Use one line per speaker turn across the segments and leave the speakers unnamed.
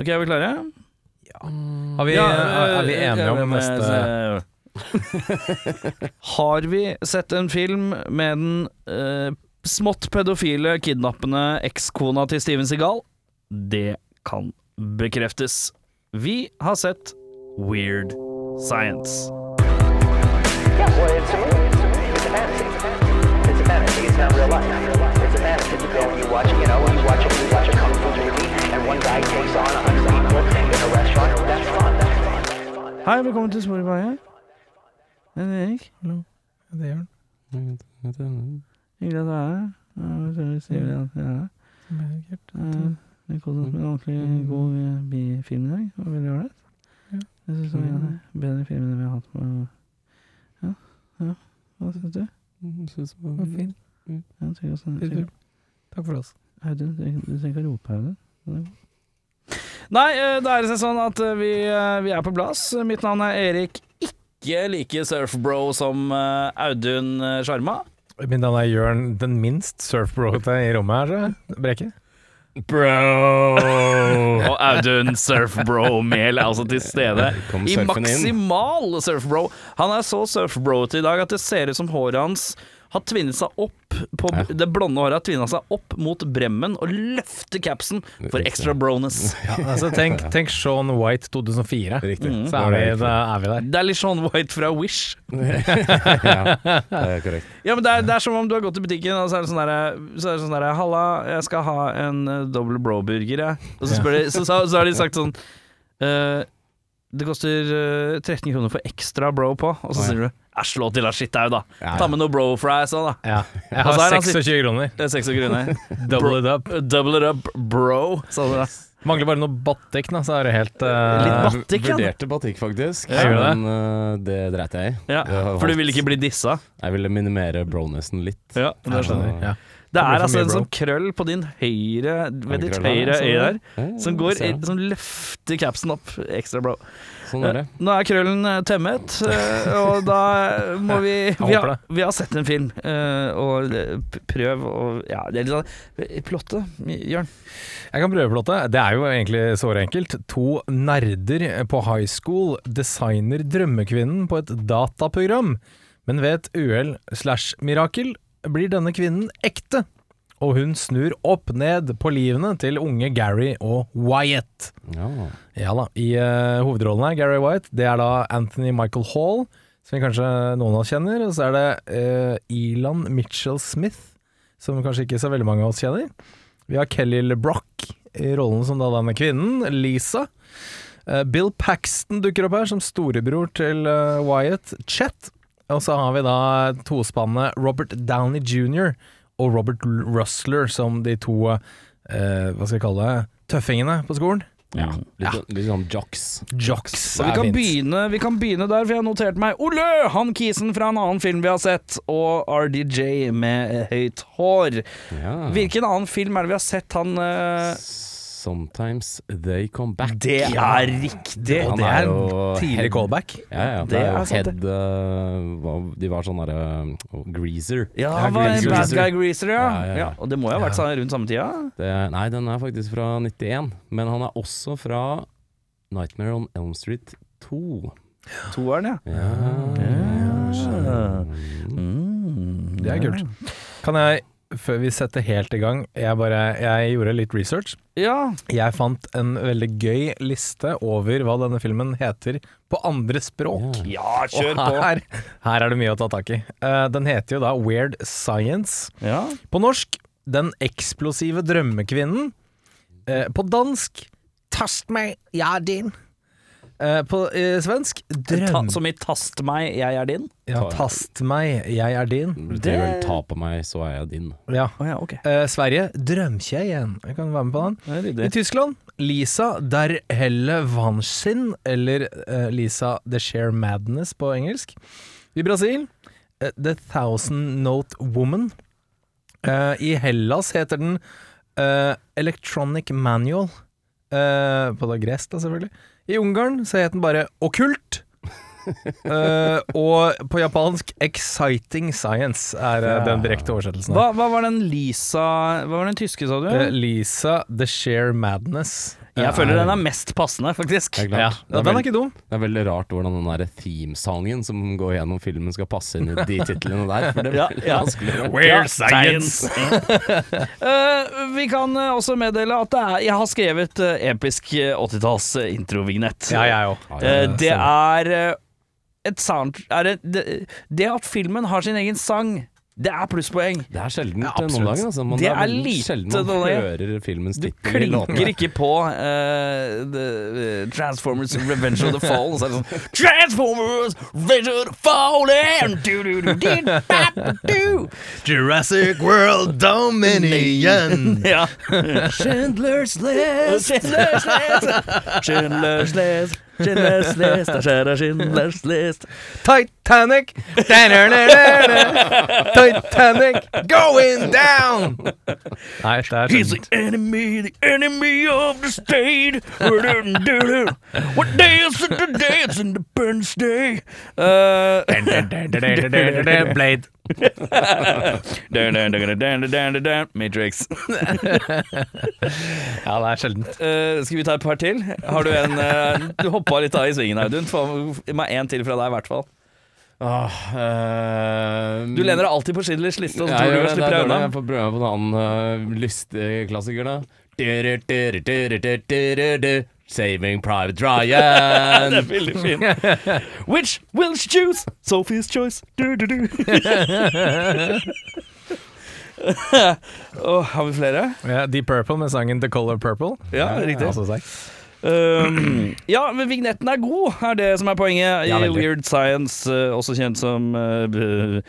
Ok, er vi klare? Eh,
Har vi, eh, er, er vi enige om neste
Har vi sett en film med den eh, smått pedofile, kidnappende ekskona til Steven Seagal? Det kan bekreftes. Vi har sett Weird Science.
Yes, well, it's a movie. It's a fantasy. It's a fantasy. It's not real life. It's a fantasy. You go and you watch, you know, you watch a, you watch a kung fu movie, and one guy takes on a hundred people in a restaurant. That's fun. That's fun.
Hei, velkommen til Spotify. Jeg er Erik.
Det gjør den.
Hyggelig at du er her. Jeg tror vi sier at jeg er her.
Sikkert.
Eh, Vi koser oss med en ordentlig god eh, bi- film i dag. Det var veldig ålreit.
Ja.
Jeg syns det var en av de bedre filmene vi har hatt på Ja. ja. Hva syns du?
Det var fint.
Ja, Jeg tror også,
Fin
jeg,
film. Takk for oss.
Audun, du du trenger ikke å rope, Audun. Den er god. Nei, eh, det er sånn at eh, vi, eh, vi er på plass. Mitt navn er Erik. Ikke like surfbro som eh, Audun eh, Sjarma.
Mitt navn er Jørn, den minst surfbrota i rommet her, så Brekke.
Bro!
Og Audun Surfbro-mel er altså til stede.
Kom
I
surfen inn.
maksimal surfbro. Han er så surfbro til i dag at det ser ut som håret hans har tvinnet seg opp på,
Ja.
Det blonde håret har tvinnet seg opp mot bremmen og løfter capsen for extra broness.
Ja, altså, tenk, tenk Sean White 2004.
Riktig.
Mm. Så er vi, da er vi der.
Det er litt Sean White fra Wish.
ja, det er korrekt.
Ja, men det er, det er som om du har gått til butikken, og så er det sånn derre så er det sånn derre, 'Halla, jeg skal ha en uh, double bro-burger, jeg.' Og så, spør de, så, så, så har de sagt sånn «Eh, Det koster eh, 13 kroner for ekstra bro på. Og så
Å, ja.
sier du 'Æsj, slå til da, shit au, da'.
Ja, ja.
Ta med noe bro fries òg, da.
Ja. Jeg
Og så er
har
han
26 kroner.
Det er 26 kroner.
Double it up.
Double it up, bro, sa du da.
Mangler bare noe battek, da, så er det helt eh,
Litt batt- Batikk, ja.
Vurderte batikk, faktisk.
Ja, gjorde det.
men eh, det dreit jeg i.
Ja,
Det har
for du
holdt.
vil ikke bli dissa.
Jeg ville minimere bronessen litt.
Ja,
Jeg skjønner. Ja.
Det
blir
er
for
altså
mye
en
bro.
sånn krøll på din høyre ved ditt
krøll, ja,
høyre
sånn
øye
er
der,
det. Ja, ja,
som
jeg
går
ser
inn,
det.
som løfter capsen opp. Ekstra bro.
Sånn er det.
Nå er krøllen eh, temmet, eh, og da eh, må vi vi
håper
har,
det.
vi har sett en film, eh, og eh, p- prøv å Ja, det er litt sånn Plottet, Jørn.
Jeg kan prøve plotte. Det er jo egentlig såre enkelt. To nerder på high school designer drømmekvinnen på et dataprogram, men ved et uhell slash mirakel blir denne kvinnen ekte. Og hun snur opp ned på livene til unge Gary og Wyatt.
Ja.
Ja da, i eh, hovedrollen her, Gary White, det er da Anthony Michael Hall, som vi kanskje noen av oss kjenner, og så er det eh, Elon Mitchell Smith, som kanskje ikke så veldig mange av oss kjenner. Vi har Kelly LeBrock i rollen som da denne kvinnen, Lisa. Eh, Bill Paxton dukker opp her som storebror til eh, Wyatt, Chet. Og så har vi da tospannet Robert Downey jr. og Robert L- Rustler som de to, eh, hva skal jeg kalle det, tøffingene på skolen.
Ja. Litt, litt sånn jocks.
Jocks.
Og vi kan, begynne, vi kan begynne der, for jeg har notert meg Ole, han kisen fra en annen film vi har sett, og RDJ med eh, høyt hår.
Ja.
Mm.
Hvilken annen film er det vi har sett han eh,
Sometimes they come back.
Det er riktig!
Han
det er
jo
tidlig
head-
callback.
Ja, ja. Det,
Det
er
er
jo
sant, det.
head eh, hva- De var sånn derre eh, greaser.
Ja,
Ja,
han var en
Greaser.
bad guy greaser, ja.
Ja, ja,
ja.
ja.
Og det må jo ha vært sånn rundt samme tida?
Det, nei, den er faktisk fra 91, men han er også fra Nightmare on Elm Street 2.
Toeren, ja.
Ja.
Mm.
Det er kult. Kan jeg, før vi setter helt i gang, jeg, bare, jeg gjorde litt research.
Ja,
Jeg fant en veldig gøy liste over hva denne filmen heter på andre språk.
ja
Ja.
Mm. kjør
Og
på!
her, her er det mye å ta tak i. Eh, den heter jo da Weird Science.
Ja.
På norsk Den eksplosive drømmekvinnen. Eh, på dansk Tast meg, jeg er din. Eh, på eh, svensk
Ta,
Drøm...
som i 'tast meg, jeg er din'?
Ja, tast meg, jeg er din.
Mm.
Det vil ta på meg, så er jeg din.
Ja.
Å ja, ok.
Eh, Sverige, Drømkje igjen. Jeg kan være med på den.
Det er
I
ryddig.
Tyskland, Lisa der Helle Vansin, eller eh, Lisa The Sheer Madness på engelsk. I Brasil, eh, The Thousand Note Woman. Eh, I Hellas heter den eh, Electronic Manual. Eh, på da gresk, da, selvfølgelig. I Ungarn så het den bare Okkult. Eh, og på japansk Exciting Science er eh, den direkte oversettelsen.
Hva, hva var den Lisa Hva var den tyske, sa du?
Eh, Lisa The Eh, Sheer Madness.
Jeg
Ja,
føler
ja.
den er mest passende, faktisk.
Det
Ja.
er
Ja,
klart. det, er
den er
veldig,
ikke dum.
det er veldig rart hvordan den der themesangen som går gjennom filmen skal passe inn i de titlene der, for det er
Ja,
veldig
ja.
vanskelig.
Ja, Eh, vi kan eh, også meddele at det er, jeg har skrevet eh, episk eh, 80-talls eh, introvignett.
jeg òg.
Eh,
Ja,
det er eh, et sound... Er det, det, det at filmen har sin egen sang, det er plusspoeng.
Det er sjelden
Ja,
noen
absolutt.
dager. Altså, men
Det
det er,
er
veldig
lite
sjelden man
noen dager.
hører filmens
Du
tittel i
klinker
låtene.
ikke på eh, the, eh, Transformers Revenge of the Fall. Så er det sånn Transformers Revenge of the Fall and do, do, do, did, bap, do.
Jurassic World Dominion.
Ja.
Chandler's List!
Schindlers list. Schindlers list. Schindlers list. Der skjer det Schindlers list.
Titanic. Titanic going down. Nei, det er
He's the
sjeldent.
enemy, the enemy of the state. What day is it today? It's Independence Day. Uh,
Blade.
dun, dun, dun, dun, dun, dun, dun, dun. Matrix.
Ja, det er sjeldent.
Eh, skal vi ta et par til? Har du en eh, Du hoppa litt av i svingen, Audun. Få meg en til fra deg, i hvert fall.
Åh, ehm,
Du lener deg alltid på Schindlers liste, og så tror
jeg
du du
gjør det, det
slipper
er
deg
dårlig.
unna.
Jeg får prøve på en annen uh, listeklassiker, da. Dere, dere, dere, dere, dere, dere. Saving Private Ryan.
Det er veldig fin. Which will she choose? Sophie's choice. Du, du, du. Åh, har vi flere?
Ja, Deep Purple med sangen The Color Purple.
Ja,
Ja,
riktig.
så sterk.
Um, ja, men vignetten er god, er det som er poenget. I
Ja, veldig.
Weird Science, eh, også kjent som eh, b-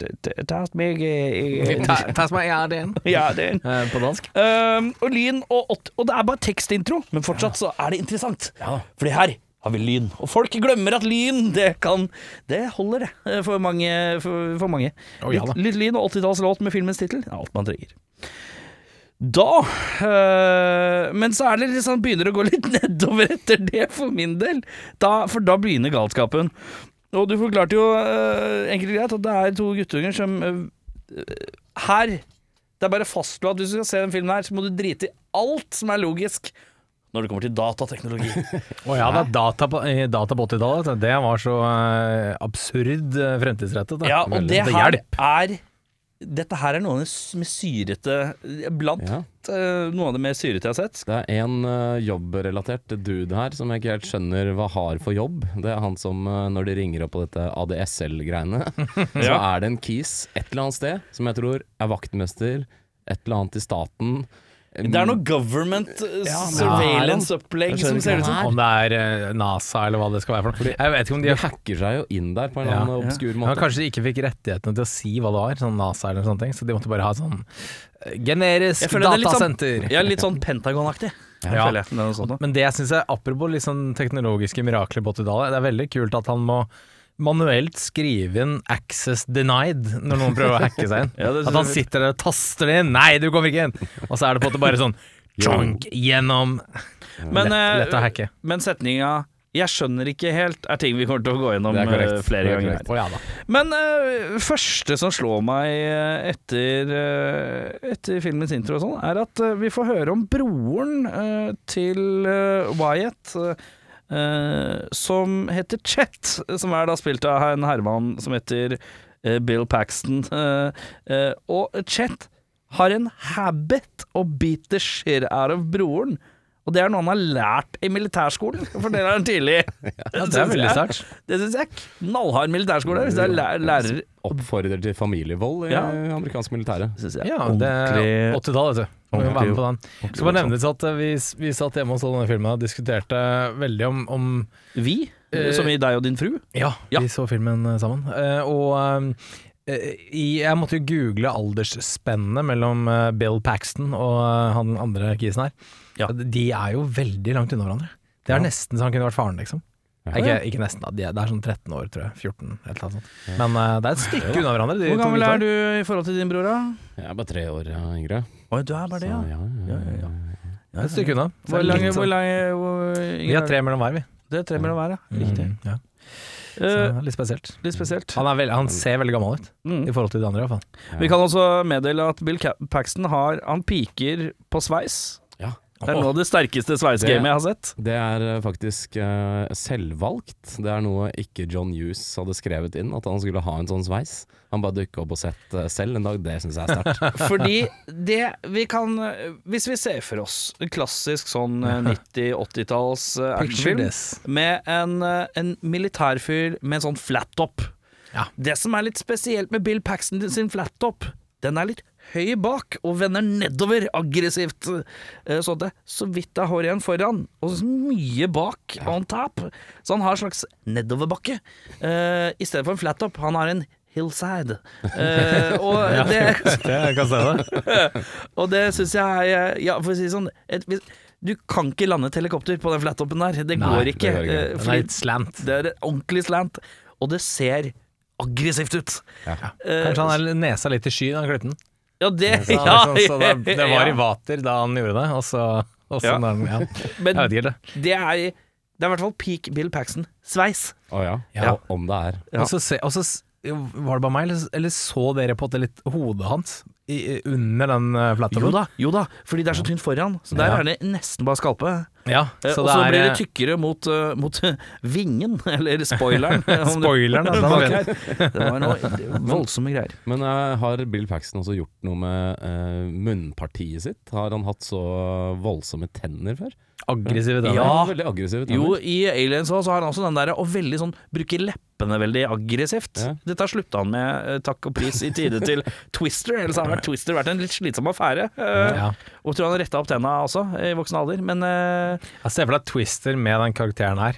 t- t- Tast meg eh, eh, Ja, det
På dansk.
Um, og lyn og åt- Og det er bare tekstintro, men fortsatt så er det interessant. Fordi her har vi lyn. Og folk glemmer at lyn, det kan Det holder, det, eh, for mange. For, for mange.
Å, ja da.
litt, litt lyn og 80-tallslåt med filmens tittel er alt man trenger. Da eh, Men så er det litt sånn begynner det å gå litt nedover etter det, for min del. Da, for da begynner galskapen. Og du forklarte jo eh, enkelt og greit at det er to guttunger som eh, Her det er bare fastslå at hvis du skal se den filmen her, så må du drite i alt som er logisk når det kommer til datateknologi.
Å ja, da, data på, eh, data på 80-tallet, vet du, det var så eh, absurd eh, fremtidsrettet. da.
ja, og det her
hjelp.
er Dette her er noe av det s- med syrete Blant
Ja.
eh, noe av det mer syrete jeg har sett.
Det er en eh, jobbrelatert dude her som jeg ikke helt skjønner hva har for jobb. Det er han som, eh, når de ringer opp på dette ADSL-greiene, så
Ja.
er det en kis et eller annet sted, som jeg tror er vaktmester, et eller annet i staten.
Det er noe government eh,
Mm. men-
surveillance-opplegg
altså. Jeg skjønner
som
ikke
ser ut
hva
som
her.
liksom, Om det er eh, NASA eller hva det skal være for noe. Jeg vet ikke om de
De
har
hacker seg jo inn der på en eller
Ja.
annen obskur
ja,
måte.
Kanskje de ikke fikk rettighetene til å si hva det var, sånn NASA eller sånne ting, så de måtte bare ha sånn eh, generisk
det er litt sånn-
datasenter.
Ja, litt sånn Pentagon-aktig.
Ja.
føler jeg. Det er noe sånt da.
Men det jeg syns er apropos litt sånn teknologiske mirakler på 80-tallet, det er veldig kult at han må manuelt skrive inn 'access denied' når noen prøver å hacke seg inn.
Ja, det synes
at han
jeg-
sitter der og taster det inn 'nei, du kommer ikke inn', og så er det på en måte bare sånn Chunk gjennom
Men,
lett,
eh,
lett å hacke.
men setninga 'jeg skjønner ikke helt' er ting vi kommer til å gå gjennom
Det er korrekt.
eh, flere
Det er
ganger. her.
korrekt.
Å ja da.
Men eh, første som slår meg eh, etter, eh, etter filmens intro og sånn, er at eh, vi får høre om broren eh, til eh, Wyatt, eh, eh, som heter Chet, som er da spilt av en herremann som heter eh, Bill Paxton. eh, eh, og Chet har en habit å beat the shit out of broren. Og det er noe han har lært i militærskolen, for det er han tidlig.
Ja, det er veldig sterkt.
Det syns jeg er knallhard militærskole. Hvis det er læ- lærer
Oppfordrer til familievold i
Ja.
eh, amerikansk militære.
synes jeg.
Ja, det er 80-tallet, vet du. Må jo
Ordentlig-
være med på den. Så bare nevnes at eh, vi, vi satt hjemme og så denne filmen og diskuterte veldig om, om
Vi,
Eh,
som i deg og din fru.
Ja,
Ja.
vi så filmen eh, sammen. Eh, og eh, i, jeg måtte jo google aldersspennet mellom eh, Bill Paxton og eh, han andre kisen her.
Ja.
De er jo veldig langt unna hverandre. Det er nesten så han kunne vært faren, liksom.
Ja.
Ikke, ikke nesten, da. De er, det er sånn 13 år, tror jeg. 14, et eller annet sånt. Men eh, det er et stykke unna hverandre. De,
Hvor
to
gammel
gutta.
er du i forhold til din bror, da?
Jeg er bare tre år ja, yngre.
Oi, du er bare
Så, ja, ja, ja.
Det er Et stykke unna. Så
Hvor
det er
lang
litt
hvor
sånn-
lang hvor-
Vi har tre mellom hver, vi.
Det er tre mellom hver, ja. Riktig.
Mm, ja. Så
Eh,
det er litt spesielt.
litt spesielt.
Han, er veldig, han ser veldig gammel ut i
Mm.
forhold til de andre, iallfall.
Vi kan også meddele at Bill Ca- Paxton har Han piker på sveis.
Ja.
Det er noe av det sterkeste sveisegamet jeg har sett.
Det er eh, faktisk eh, selvvalgt. Det er noe ikke John Hughes hadde skrevet inn, at han skulle ha en sånn sveis. Han bare dukka opp og sett eh, selv en dag. Det syns jeg er sterkt.
Fordi det vi kan eh, Hvis vi ser for oss en klassisk sånn eh, 90-80-talls eh, actionfilm med en, eh, en militærfyr med en sånn flattop.
Ja.
Det som er litt spesielt med Bill Paxton sin flattop, den er litt høy bak og vender nedover aggressivt. Eh, Så det så vidt det er hår igjen foran, og så mye bak on top. Så han har en slags nedoverbakke eh, i stedet for en flattop. Han har en hillside. Eh, og det
Jeg kan se det.
og det syns jeg er Ja, for å si det sånn et, hvis, Du kan ikke lande et helikopter på den flattopen der. Det
Nei,
går
det
ikke.
gjør ikke det.
eh,
Den
fordi
er litt slant.
det er ordentlig slant, og det ser aggressivt ut.
Ja.
Eh,
Kanskje han er nesa litt i skyen, han klippen.
ja, det,
Så,
ja,
liksom, så det, det var i
ja.
vater da han gjorde det, og så, og så
Ja.
når han- ja.
Men
Jeg vet ikke, det.
det er Det er i hvert fall peak Bill Paxton-sveis.
Å ja.
Ja.
Og om det er.
Ja.
Og så se, og så, s- var det bare meg, eller, eller så dere på at det litt hodet hans i, i- under den uh,
Jo
flattoppen?
da, jo da, fordi det er så tynt foran, så der
Ja.
er det nesten bare skalpe.
Ja,
Eh,
så
og
det
så
er
blir det tykkere mot, eh, mot vingen, eller spoileren. om du-
Spoileren, altså. da, den
bak
vet
her. Det var noe det var voldsomme greier.
Men eh, har Bill Paxton også gjort noe med eh, munnpartiet sitt? Har han hatt så voldsomme tenner før?
aggressive
Han
tenner.
har veldig aggressive tenner.
Jo, i Aliens også, så har han også den derre og veldig sånn bruker leppene veldig aggressivt.
Ja.
Dette har slutta han med, eh, takk og pris, i tide til Twister. Ellers har vært Twister vært en litt slitsom affære. Eh,
Ja.
Og tror han retta opp tenna også, i voksen alder. Men eh,
Jeg ser for deg Twister med den karakteren her.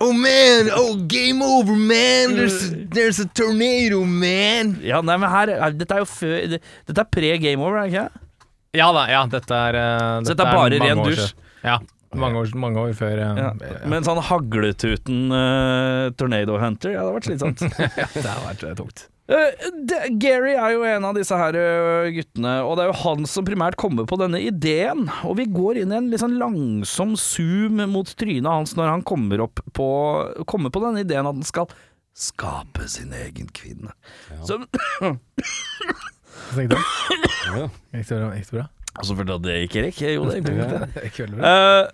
oh man, oh game over man, there's, there's a tornado man.
ja, nei, men her er- Dette er jo før det- Dette er pre game over, er det ikke? det?
Ja da, ja, dette er eh,
Så dette er bare
mange
ren
år
dusj.
siden. Ja, mange år, mange år før. eh,
Ja. Med en sånn hagletuten eh, Tornado Hunter. Ja, det har vært slitsomt.
Det har vært eh, tungt.
Eh, det- Gary er jo en av disse her eh, guttene, og det er jo han som primært kommer på denne ideen. Og vi går inn i en litt sånn langsom zoom mot trynet hans når han kommer, opp på, kommer på denne ideen at han skal skape sin egen kvinne. Som
Så tenkte jeg,
Ja.
Gikk det bra? Gikk det bra?
Og selvfølgelig at det gikk, Erik. Jo, det gikk
Ja.
Gikk veldig bra.
Eh,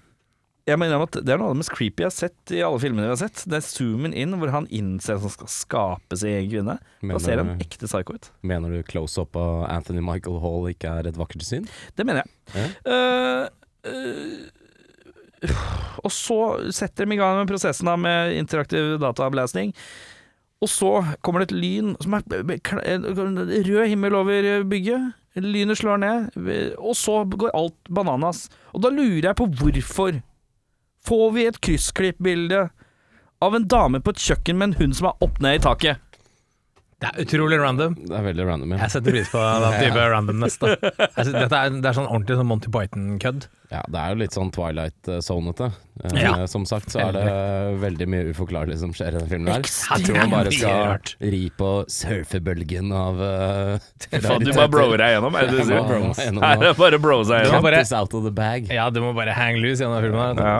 jeg mener at Det er noe av det mest creepy jeg har sett i alle filmene vi har sett. Det er zoomen inn hvor han innser at han skal skape sin egen kvinne.
Mener-
Da ser han ekte psycho ut.
Mener du close-up av Anthony Michael Hall ikke er et vakkert syn?
Det mener jeg.
Ja.
Eh, eh, og så setter de i gang med prosessen da med interaktiv dataavlesning. Og så kommer det et lyn som er b- b- kl- en eh, rød himmel over bygget. Lynet slår ned, og så går alt bananas. Og da lurer jeg på hvorfor. Får vi et kryssklippbilde av en dame på et kjøkken med en hund som er opp ned i taket?
Det er utrolig random.
Det er veldig random. Ja.
Jeg setter pris på den type randomness. Da. Jeg synes, dette er, det er sånn ordentlig sånn Monty Python-kødd.
Ja, det er jo litt sånn Twilight-sonete. Eh,
Ja.
Som sagt så er det veldig mye uforklarlig som skjer i den filmen her. Jeg tror
Ekstremt
man bare
mye
skal
rart.
ri på surfebølgen av eh,
Faen, du bare broer deg gjennom, er det det du
Ja, bro
sier?
meg gjennom,
Her er det bare bro seg
Ja,
gjennom.
bare-
Cat is out of the bag.
Ja, du må bare hang loose gjennom filmen. her.
Ja.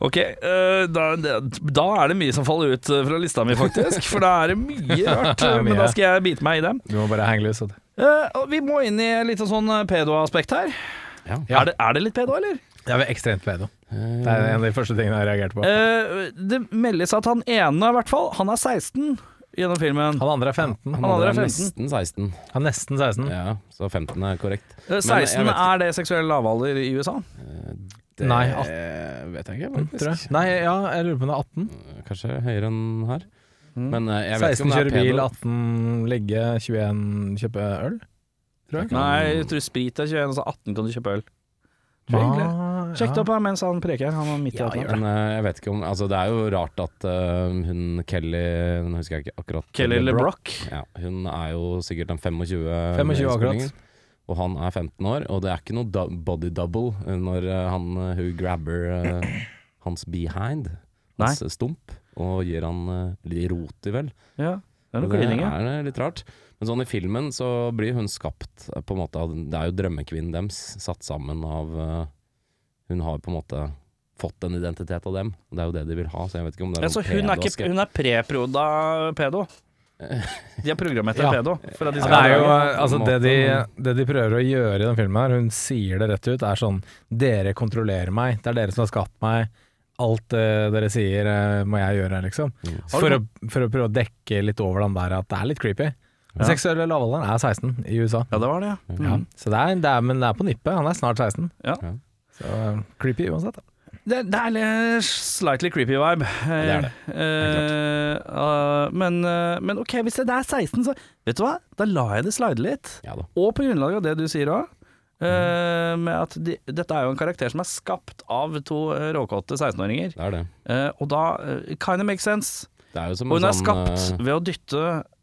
Ok, eh, da, da er det mye som faller ut eh, fra lista mi, faktisk. For da er det mye rart.
er mye.
Men da skal jeg bite meg i det.
Du må bare hang loose. vet du.
Eh, og vi må inn i litt sånn eh, pedo-aspekt her.
Ja.
Er, det, er det litt pedo, eller?
Det er vel ekstremt pedo. Det er en av de første tingene jeg reagerte på.
Eh, det meldes at han ene, i hvert fall, han er 16 gjennom filmen.
Han andre er Mm. 15.
Han
Han andre
andre
er
er nesten 16,
Han er nesten 16.
ja, så 15 er korrekt.
Eh,
Men jeg
16
vet ikke.
er det seksuell lavalder i USA.
Det
Nei,
vet jeg ikke,
Tror jeg.
faktisk.
Nei, ja, jeg lurer på om det er 18.
Kanskje høyere enn her. Men eh, jeg vet ikke
16
om det er
kjører bil,
pedo.
18 ligge, 21 kjøpe øl.
Jeg kan-
Nei, jeg tror sprit er 21, og så 18 kan du kjøpe øl. Tror jeg egentlig.
Ah,
Sjekk det opp her mens han preker. Han er midt i
Ja,
alt her.
men eh, jeg vet ikke om Altså, det er jo rart at eh, hun Kelly Nå husker jeg ikke akkurat
Kelly LeBrock.
Ja, hun er jo sikkert en
25
25 i
akkurat.
spillingen, Og han er 15 år, og det er ikke noe du body double eh, når eh, han eh, hun grabber eh, hans behind, hans stump, og gir han eh, litt rot i vel.
Ja. Det er noe
det
klining, ja.
er eh, litt rart. Men sånn i filmen så blir hun skapt eh, på en måte av Det er jo drømmekvinnen deres satt sammen av eh, Hun har på en måte fått en
Sånn
identitet av dem. og Det er jo det de vil ha, så jeg vet ikke om det er
Ja, så
noen
hun er,
pedo-skep-
ikke, hun er pre-proda pedo. De har programmert en
Ja.
pedo. For at de
Ja,
skal
det er
ha
jo
drag.
på en
altså, det,
måte,
de,
men-
det de prøver å gjøre i den filmen her, hun sier det rett ut, er sånn Dere kontrollerer meg, det er dere som har skapt meg. Alt eh, dere sier eh, må jeg gjøre, liksom.
Mm.
Har
For å,
du-
for å prøve å dekke litt over den der at det er litt creepy. Den
Ja.
seksuelle lavalderen er 16 i USA.
Ja, det var det, ja.
Ja,
Mm.
så det er, det er, men det er på nippet. Han er snart 16.
Ja.
Ja.
Så eh, creepy uansett. Da.
Det, det er litt slightly creepy vibe.
det er det.
Eh, eh, men, eh, men ok, hvis det er 16, så Vet du hva, da lar jeg det slide litt.
Ja da.
Og på grunnlag av det du sier òg,
Mm.
med at de, dette er jo en karakter som er skapt av to eh, råkåte 16-åringer.
Det er det.
Eh, og da uh, kind of makes sense.
Det er jo som
Og hun
en
er
sånn
skapt
eh,
ved å dytte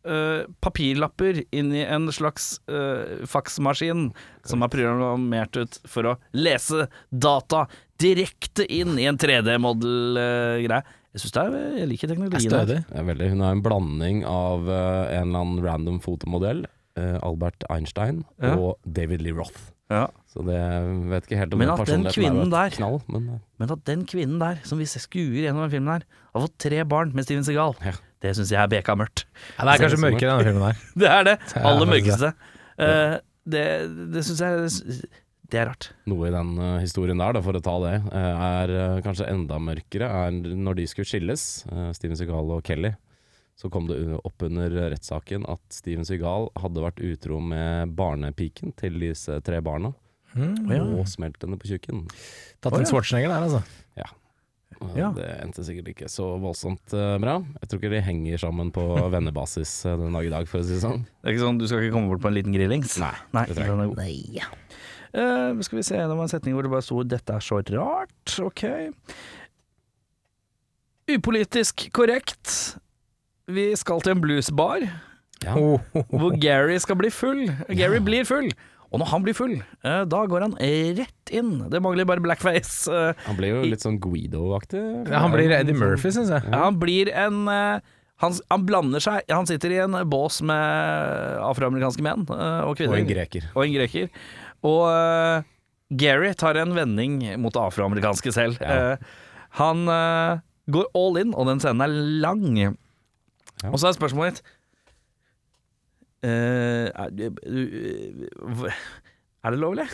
eh, papirlapper inn i en slags eh, faksmaskin som er programmert ut for å lese data direkte inn i en 3D-modell-greie. eh, jeg syns det er Jeg liker teknologien. her.
Stødig.
det er veldig, hun er en blanding av eh, en eller annen random fotomodell, eh, Albert Einstein,
Ja.
og David Lee Roth.
Ja.
Så det jeg vet ikke helt om
Men
den
at den
personligheten er jo
kvinnen
et
der-
knall, men eh,
Men at den kvinnen der, som vi skuer gjennom den filmen her, har fått tre barn med Steven Segal,
Ja.
det syns jeg er beka mørkt.
Ja, det er kanskje mørkere i denne filmen her.
Det er det
er
aller
faktisk
mørkeste. Eh, det det syns jeg Det er rart.
noe i den eh, historien der, da, for å ta det, eh, er eh, kanskje enda mørkere. Er når de skulle skilles, eh, Steven Segal og Kelly, så kom det u- opp under rettssaken at Steven Segal hadde vært utro med barnepiken til disse tre barna,
Mm.
og smelt henne på tjukken.
Tatt
Å, ja.
en Schwarzenegger der, altså.
Eh,
Ja.
Det endte sikkert ikke så voldsomt eh, bra. Jeg tror ikke de henger sammen på vennebasis eh, den dag i dag, for å si det sånn.
Det er ikke sånn, Du skal ikke komme bort på en liten grillings?
Nei,
Nei,
det trenger
den er god. Eh, skal vi se, det var en setning hvor det bare sto 'dette er så rart', ok. Upolitisk korrekt. Vi skal til en bluesbar
Ja.
hvor Gary skal bli full. Gary blir full. Og når han blir full, eh, da går han rett inn. Det mangler bare blackface. eh,
Han blir jo litt sånn Guido-aktig. eh,
Ja, han blir Eddie Murphy, syns jeg.
Ja, han blir en eh, han, han blander seg Han sitter i en bås med afroamerikanske menn eh, og
Og
kvinner.
en greker.
Og en greker. Og eh, Gary tar en vending mot det afroamerikanske selv.
Ja.
Eh, han eh, går all in, og den scenen er lang. Og så er spørsmålet mitt eh, er, du- er det lovlig?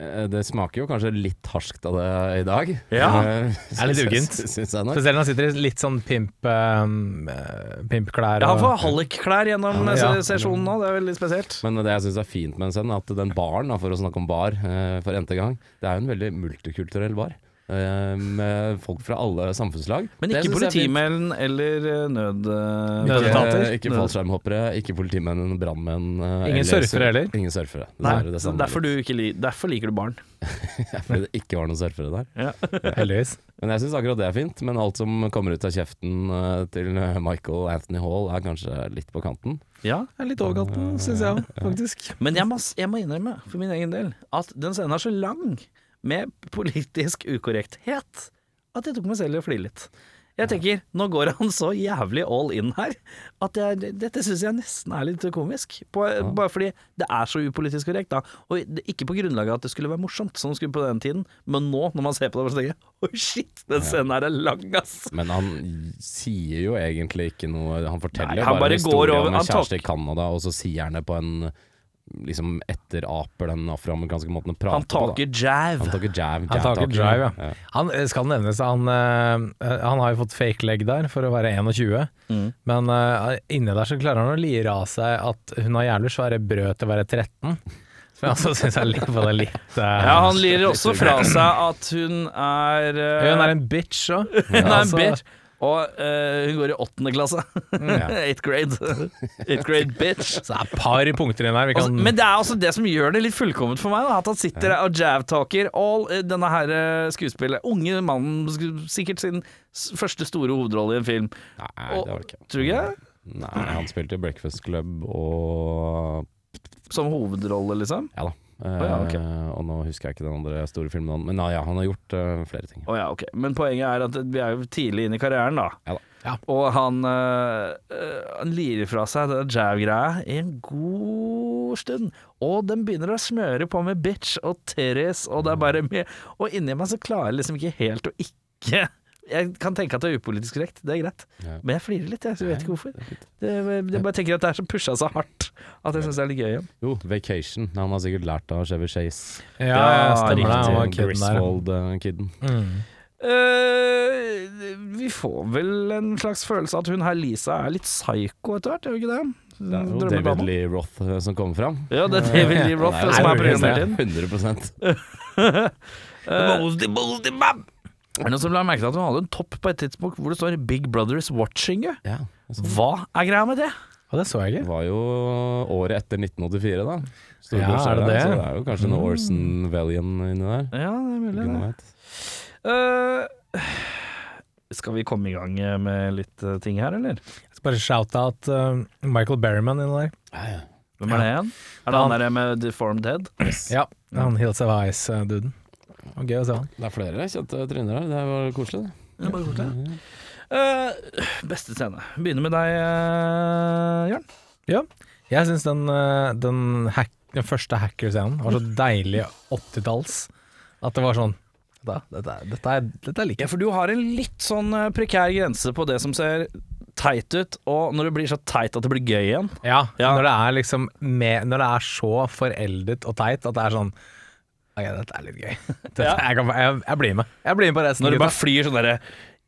Eh, Det smaker jo kanskje litt harskt av det i dag.
Ja.
Eh,
Er litt
syns-
uggent.
Syns jeg nok.
Spesielt når han sitter i litt sånn pimp, eh, eh, pimpklær.
Ja, han
og-
får hallikklær gjennom
Ja,
eh,
ja.
sesjonen nå, det er veldig spesielt.
Men det jeg syns er fint med den scenen, er at den baren, da, for å snakke om bar eh, for n-te gang, det er jo en veldig multikulturell bar. eh, Med folk fra alle samfunnslag.
Men
Det
ikke
syns jeg er fint.
politimelden eller eh, nød... eh,
Nød-
Ikke,
nødetater.
ikke fallskjermhoppere, ikke politimenn, brannmenn. eh,
Ingen
eller-
surfere heller.
Ingen surfere.
Nei,
Dessverre, det
så
savner jeg
derfor,
litt.
du ikke li derfor liker du barn.
Fordi det ikke var noen surfere der.
Heldigvis.
Men jeg syns akkurat det er fint. Men alt som kommer ut av kjeften eh, til eh, Michael Anthony Hall, er kanskje litt på kanten.
Ja,
Det er litt overkanten, syns jeg òg, faktisk.
Men jeg må, s- jeg må innrømme, for min egen del, at den scenen er så lang med politisk ukorrekthet at jeg tok meg selv i å flire litt. Jeg tenker, nå går han så jævlig all in her, at jeg, dette syns jeg nesten er litt komisk. På, Bare fordi det er så upolitisk korrekt, da. Og det, ikke på grunnlag av at det skulle være morsomt, som det skulle på den tiden, men nå, når man ser på det, så tenker jeg oi, shit, den scenen her er lang, ass.
Men han sier jo egentlig ikke noe Han forteller
Nei, han bare
bare historien
går over- han
om en kjæreste
tok-
i Canada, og så sier han det på en Liksom etteraper den afroamerikanske måten å prate
Han
på.
taker
da.
jav.
Han taker jab.
Han tar
jab
ikke
talking.
drive, ja. Han eh, skal nevnes, han, eh, han har jo fått fake leg der for å være 21,
Mm.
men eh, inne der så klarer han å lire av seg at hun har jævlig svære brød til å være 13. Som jeg også syns er litt, bare litt eh,
Ja, han lirer også fra seg at hun er eh,
Hun er en bitch Altså, òg.
Hun er en bitch. Og eh, hun går i åttende klasse. Eighth grade. Eighth grade bitch.
Mm, Så det er et par punkter inn her. Vi
Altså,
kan,
men det er også det som gjør det litt fullkomment for meg, da, at han sitter der og javtalker all eh, denne her eh, skuespillet. Unge mannen, sku- sikkert sin s- første store hovedrolle i en film.
Nei, det var det ikke.
Tror du ikke?
Mm.
det?
Nei, han spilte i Breakfast Club og
Som hovedrolle, liksom.
Ja da. Eh,
ja, ok.
Og nå husker jeg ikke den andre store filmen han Men ah, ja, han har gjort eh, flere ting.
Å ja, ok. Men poenget er at vi er jo tidlig inne i karrieren, da.
Ja da.
Og han, eh, eh, han lirer fra seg den jab-greia i en god stund. Og den begynner å smøre på med bitch og terris, og det er bare mye Og inni meg så klarer jeg liksom ikke helt å ikke Jeg kan tenke at det er upolitisk korrekt, det er greit.
Ja.
Men jeg flirer litt, jeg, så jeg vet ikke hvorfor. Det, jeg bare tenker at det er så pusha så hardt at jeg syns det er litt gøy. igjen.
Jo, Vacation. Han har sikkert lært av Chevy Chase.
Ja, stemmer det. Han var kiden der.
Griswold-kiden.
Mm.
Eh, vi får vel en slags følelse av at hun her Lisa er litt psycho etter hvert, gjør hun ikke det?
Det er jo
Drømmedama.
David Lee Roth eh, som kommer fram.
Ja, det er David Lee Roth
Nei,
som er
det
programleder.
er 100
Er det noen som la merke til at hun hadde en topp på et tidspunkt hvor det står 'Big Brothers Watching You'?
Ja. altså,
Hva er greia med det?
Ja, det så jeg
Det
ikke.
var jo året etter 1984, da. Storbroren
Ja, er
skjer
det
der,
det?
Så det Mm. er jo kanskje noe Orson Valian inni der.
Ja, det er mulig,
Gudene
det.
vet.
Eh, skal vi komme i gang med litt eh, ting her, eller?
Jeg skal bare shout-out eh, Michael Berryman inni der.
Hvem er det igjen? Er det han der med Deformed Head?
Ja, han Hills of eh, Ice-duden. Gøy å se han.
Det er flere kjente tryner her. Det var koselig. det. Mm.
Eh, beste scene. Begynner med deg, eh, Jørn.
Ja. Jeg syns den, eh, den, hack, den første hacker-scenen var så deilig 80-talls at det var sånn da, dette, er- dette, er, dette er like
Ja, for du har en litt sånn eh, prekær grense på det som ser teit ut, og når det blir så teit at det blir gøy igjen.
Ja,
Ja.
Når, det er liksom med, når det er så foreldet og teit at det er sånn Ok, dette er litt gøy. Dette,
Ja.
jeg, kan, jeg, jeg blir med. Jeg blir med på resten.
Når det
gutta.
bare flyr sånn derre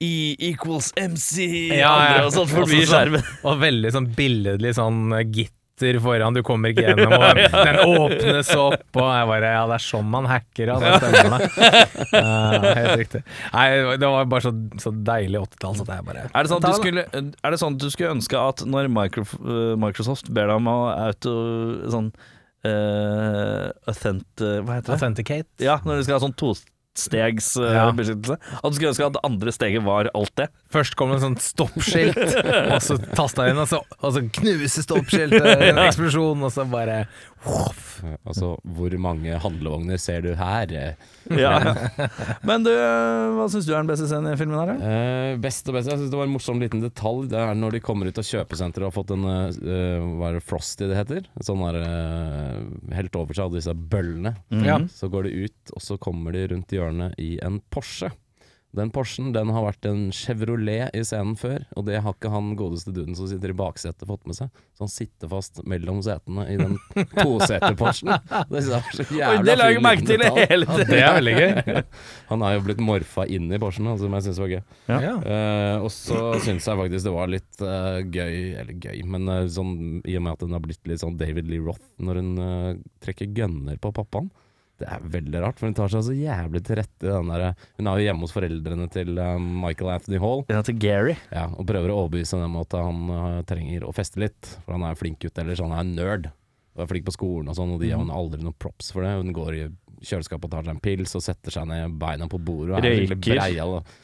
E equals MC
Ja, ja.
andre og sånt forbi
Også sånn-
skjermen.
Og veldig sånn billedlig sånn eh, gitter foran, du kommer ikke gjennom, og den åpnes opp, og jeg bare Ja, det er sånn man hacker, ja. Det stemmer meg. Eh, helt riktig. Nei, det var bare så, så deilig 80-tall, så det er bare
Er det, sånn at
Ta
du
det.
skulle, er det sånn at du skulle ønske at når Micro, eh, Microsoft ber deg om å auto... Sånn eh, authent... eh, Hva heter det?
Authenticate.
Ja, når du skal ha sånn tostegs eh,
Ja.
beskyttelse. At du skulle ønske at det andre steget var alt det.
Først kommer det en sånn stoppskilt, og så taster jeg inn, og så, og så knuses stoppskiltet, en eksplosjon, og så bare Voff.
Ja, Altså, hvor mange handlevogner ser du her?
Men du, eh, hva syns du er den beste scenen i filmen her? da?
Eh, best og best. Jeg synes det var en morsom liten detalj. Det er når de kommer ut av kjøpesenteret og har fått en eh, Hva er det Frosty det heter? En Sånn der eh, Helt over seg av disse bøllene.
Ja.
Mhm.
Så går de ut, og så kommer de rundt hjørnet i en Porsche. Den Porschen den har vært en Chevrolet i scenen før, og det har ikke han godeste duden som sitter i baksetet fått med seg. Så han sitter fast mellom setene i den toseter-Porschen. Det synes jeg var så
Oi,
jævla
det la jeg
fin
merke
liten
til
detalj.
hele tiden!
Det er veldig gøy.
Han er jo blitt morfa inn i Porschen, da, som jeg syns var gøy.
Ja.
Eh, og så syns jeg faktisk det var litt eh, gøy, eller gøy, men eh, sånn, i og med at hun har blitt litt sånn David Lee Roth når hun eh, trekker gønner på pappaen. Det er veldig rart, for hun tar seg så jævlig til rette i den der eh, Hun er jo hjemme hos foreldrene til eh, Michael Anthony Hall
Den heter Gary.
ja, og prøver å overbevise dem om at han eh, trenger å feste litt, for han er en flink gutt ellers, han er en nerd. Og er flink på skolen og sånn, og de gir henne aldri noen props for det. Hun går i kjøleskapet og tar seg en pils og setter seg ned beina på bordet og er skikkelig
Røyker.
breial. og-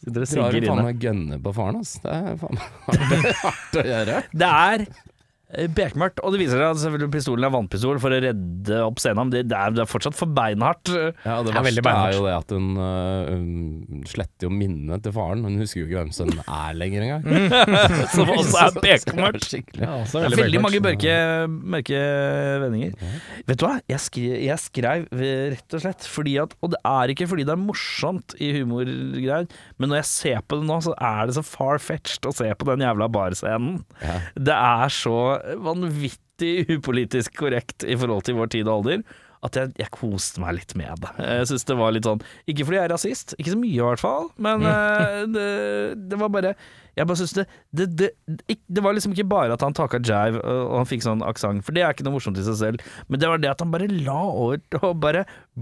Dere
Drar
sigger
du faen
inne.
meg gønne på faren hans? Det er faen meg hardt, hardt å gjøre.
Det er eh, bekmørkt, og det viser seg at selvfølgelig pistolen er vannpistol for å redde opp scenen, men det, det, er, det er fortsatt for beinhardt.
Ja, det
Det er veldig
verste
beinhardt.
er jo det at hun, øh, hun sletter jo minnet til faren. Hun husker jo ikke hvem sønnen er lenger engang.
Som også Mm. er bekmørkt.
Skikkelig.
Ja, også
Det er
veldig
veldig
Bergman.
mange mørke, mørke vendinger. Vet du hva, jeg, skri, jeg skrev eh, rett og slett fordi at Og det er ikke fordi det er morsomt i humorgreier, men når jeg ser på det nå, så er det så far-fetched å se på den jævla barscenen.
Ja.
Det er så vanvittig upolitisk korrekt i forhold til vår tid og alder. At jeg, jeg koste meg litt med det. Jeg synes det var litt sånn Ikke fordi jeg er rasist, ikke så mye i hvert fall, men eh, det, det var bare Jeg bare synes det det, det ikk- det var liksom ikke bare at han taka jive og og han fikk sånn aksent, for det er ikke noe morsomt i seg selv, men det var det at han bare la over til å bare